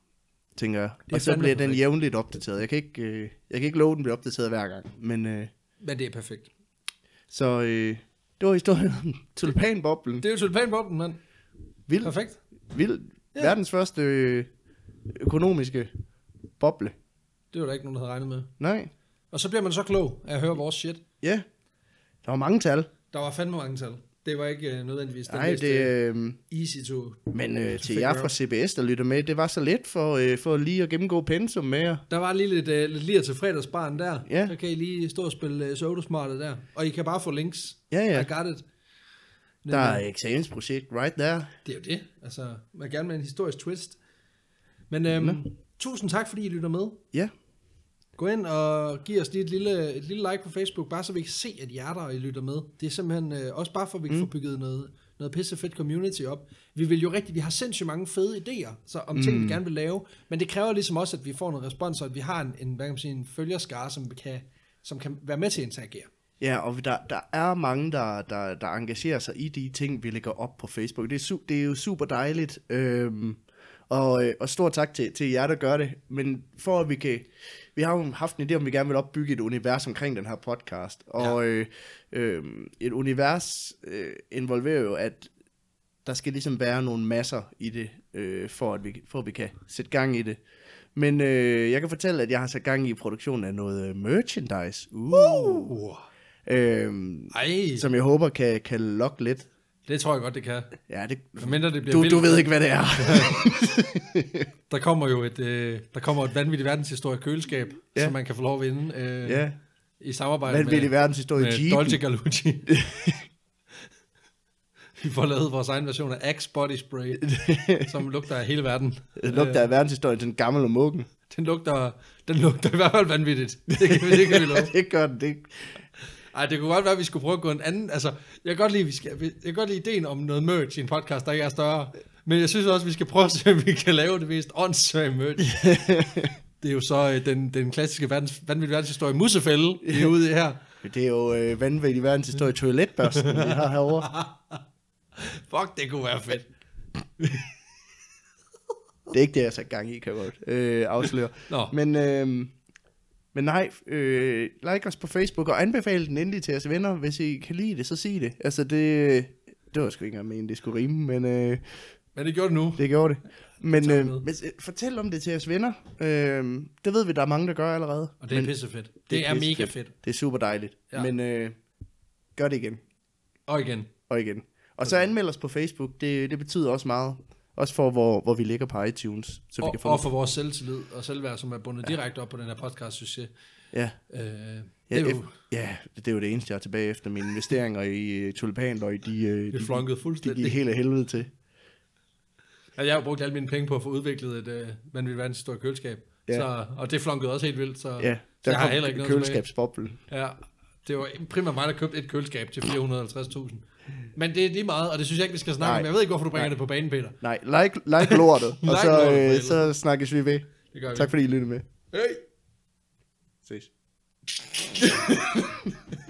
Speaker 1: tænker jeg.
Speaker 2: er
Speaker 1: Og så
Speaker 2: fandme
Speaker 1: bliver den
Speaker 2: perfekt.
Speaker 1: jævnligt opdateret. Jeg kan ikke, øh, jeg kan ikke love, at den bliver opdateret hver gang, men... Øh,
Speaker 2: Men det er perfekt.
Speaker 1: Så øh, det var historien om tulipanboblen.
Speaker 2: Det er jo tulipanboblen, mand.
Speaker 1: Vild,
Speaker 2: Perfekt.
Speaker 1: vild,
Speaker 2: Ja.
Speaker 1: ja. verdens første øh, økonomiske boble.
Speaker 2: Det var der ikke nogen, der havde regnet med.
Speaker 1: Nej,
Speaker 2: Og så bliver man så klog af at høre vores shit.
Speaker 1: ja. Der var mange tal.
Speaker 2: Der var fandme mange tal. Det var ikke øh, nødvendigvis den
Speaker 1: Nej,
Speaker 2: mest,
Speaker 1: det,
Speaker 2: øh,
Speaker 1: øh,
Speaker 2: easy to...
Speaker 1: men øh, til
Speaker 2: figure
Speaker 1: jer
Speaker 2: out.
Speaker 1: fra CBS, der lytter med, det var så let for, øh, for lige at gennemgå pensum med jer.
Speaker 2: Der var lige lidt, øh, lidt lir til fredagsbaren der.
Speaker 1: Ja.
Speaker 2: Så kan I lige stå og spille øh, Sodasmartet der. Og I kan bare få links.
Speaker 1: Ja, ja.
Speaker 2: I got it. Men,
Speaker 1: Der
Speaker 2: øh,
Speaker 1: er eksamensprojekt right there.
Speaker 2: Det er jo det. Altså, man gerne med en historisk twist. Men øhm, tusind tak, fordi I lytter med.
Speaker 1: Ja,
Speaker 2: Gå ind og giv os lige et lille, et lille like på Facebook, bare så vi kan se, at I er der, og I lytter med. Det er simpelthen øh, også bare for, at vi kan mm. få bygget noget, noget pisse fedt community op. Vi vil jo rigtig, vi har sindssygt mange fede idéer så om ting, vi gerne vil lave, men det kræver ligesom også, at vi får noget respons, og at vi har en, en, hvad kan man sige, en følgerskare, som vi kan, som kan være med til at interagere.
Speaker 1: Ja, og der, der er mange, der, der, der engagerer sig i de ting, vi lægger op på Facebook. Det er, su- det er jo super dejligt. Øhm, og, øh, og stor tak til, til jer, der gør det. Men for at vi kan... Vi har jo haft en idé om, vi gerne vil opbygge et univers omkring den her podcast. Og øh, øh, et univers øh, involverer jo, at der skal ligesom være nogle masser i det, øh, for, at vi, for at vi kan sætte gang i det. Men øh, jeg kan fortælle, at jeg har sat gang i produktionen af noget øh, merchandise. Uh!
Speaker 2: Uh.
Speaker 1: Øhm,
Speaker 2: Ej,
Speaker 1: som jeg håber kan, kan lokke lidt.
Speaker 2: det tror jeg godt, det kan.
Speaker 1: Ja, det,
Speaker 2: Mindre det bliver
Speaker 1: du,
Speaker 2: vildt.
Speaker 1: du ved ikke, hvad det er.
Speaker 2: Der kommer jo et, øh, der kommer et vanvittigt verdenshistorie køleskab,
Speaker 1: Ja.
Speaker 2: som man kan få lov at vinde øh,
Speaker 1: ja,
Speaker 2: i samarbejde
Speaker 1: vanvittig
Speaker 2: med,
Speaker 1: verdenshistorie.
Speaker 2: med
Speaker 1: Jeepen.
Speaker 2: Dolce Galucci. Vi får lavet vores egen version af Axe Body Spray, som lugter af hele verden. Øh,
Speaker 1: Det lugter af verdenshistorien, den gamle og muggen.
Speaker 2: Den lugter, den lugter i hvert fald vanvittigt. Det kan, vi- det kan vi love.
Speaker 1: det gør den. Det.
Speaker 2: Ej, det kunne godt være, at vi skulle prøve at gå en anden... Altså, jeg kan godt lide, vi skal, jeg kan godt lide ideen om noget merch i en podcast, der ikke er større. Men jeg synes også, vi skal prøve at se, om vi kan lave det mest åndssvage merch. det er jo så øh, den, den klassiske verdens, vanvittige verdenshistorie, Mussefælde, vi er ude i her.
Speaker 1: Det er jo øh, vanvittig verdenshistorie toiletbørsten, vi har herovre.
Speaker 2: Fuck, det kunne være fedt.
Speaker 1: Det er ikke det, jeg har sat gang i, kan jeg godt øh, afsløre.
Speaker 2: Nå.
Speaker 1: Men, øh, men nej, øh, like os på Facebook, og anbefale den endelig til jeres venner. Hvis I kan lide det, så sig det. Altså, det, det var sgu ikke engang meningen, det skulle rime, men øh,
Speaker 2: Men det gjorde det nu.
Speaker 1: det gjorde det. Men,
Speaker 2: Tak
Speaker 1: øh,
Speaker 2: med.
Speaker 1: men øh, fortæl om det til jeres venner. Øh, det ved vi, der er mange, der gør allerede.
Speaker 2: Og det er
Speaker 1: men,
Speaker 2: pissefedt. Det, det er mega fedt.
Speaker 1: Det er super dejligt.
Speaker 2: Ja.
Speaker 1: Ja. Men øh, gør det igen.
Speaker 2: Og igen,
Speaker 1: og igen. Og så anmeld os på Facebook, det, det betyder også meget. Også for, hvor, hvor vi ligger på iTunes, så vi
Speaker 2: og,
Speaker 1: kan få...
Speaker 2: og for vores selvtillid og selvværd, som er bundet ja. direkte op på den her podcast, synes jeg.
Speaker 1: ja,
Speaker 2: Øh, det
Speaker 1: ja,
Speaker 2: er jo
Speaker 1: ef- ja, det er jo det eneste, jeg er tilbage efter mine investeringer i uh, tulipanløg, de, øh,
Speaker 2: det
Speaker 1: de,
Speaker 2: er flunket
Speaker 1: de
Speaker 2: fuldstændig.
Speaker 1: gik helt af helvede til.
Speaker 2: Ja, jeg har jo brugt alle mine penge på at få udviklet et øh, vanvittigt verdensstort køleskab. Ja.
Speaker 1: Ja.
Speaker 2: Så, og det flunkede også helt vildt, så,
Speaker 1: Ja,
Speaker 2: så jeg
Speaker 1: der
Speaker 2: har
Speaker 1: kom
Speaker 2: heller ikke noget
Speaker 1: køleskabsboblen.
Speaker 2: tilbage. Ja, det var primært mig, der købte et køleskab til 450.000. Men det er lige meget, og det synes jeg ikke, vi skal snakke
Speaker 1: Nej.
Speaker 2: om. Jeg ved ikke, hvorfor du bringer Nej. det på banen, Peter.
Speaker 1: Nej, like, like lortet, og
Speaker 2: Like
Speaker 1: så,
Speaker 2: lortet, for
Speaker 1: øh,
Speaker 2: helvede.
Speaker 1: så snakkes vi ved.
Speaker 2: Det gør vi.
Speaker 1: Tak fordi I lyttede med.
Speaker 2: Hey!
Speaker 1: Ses.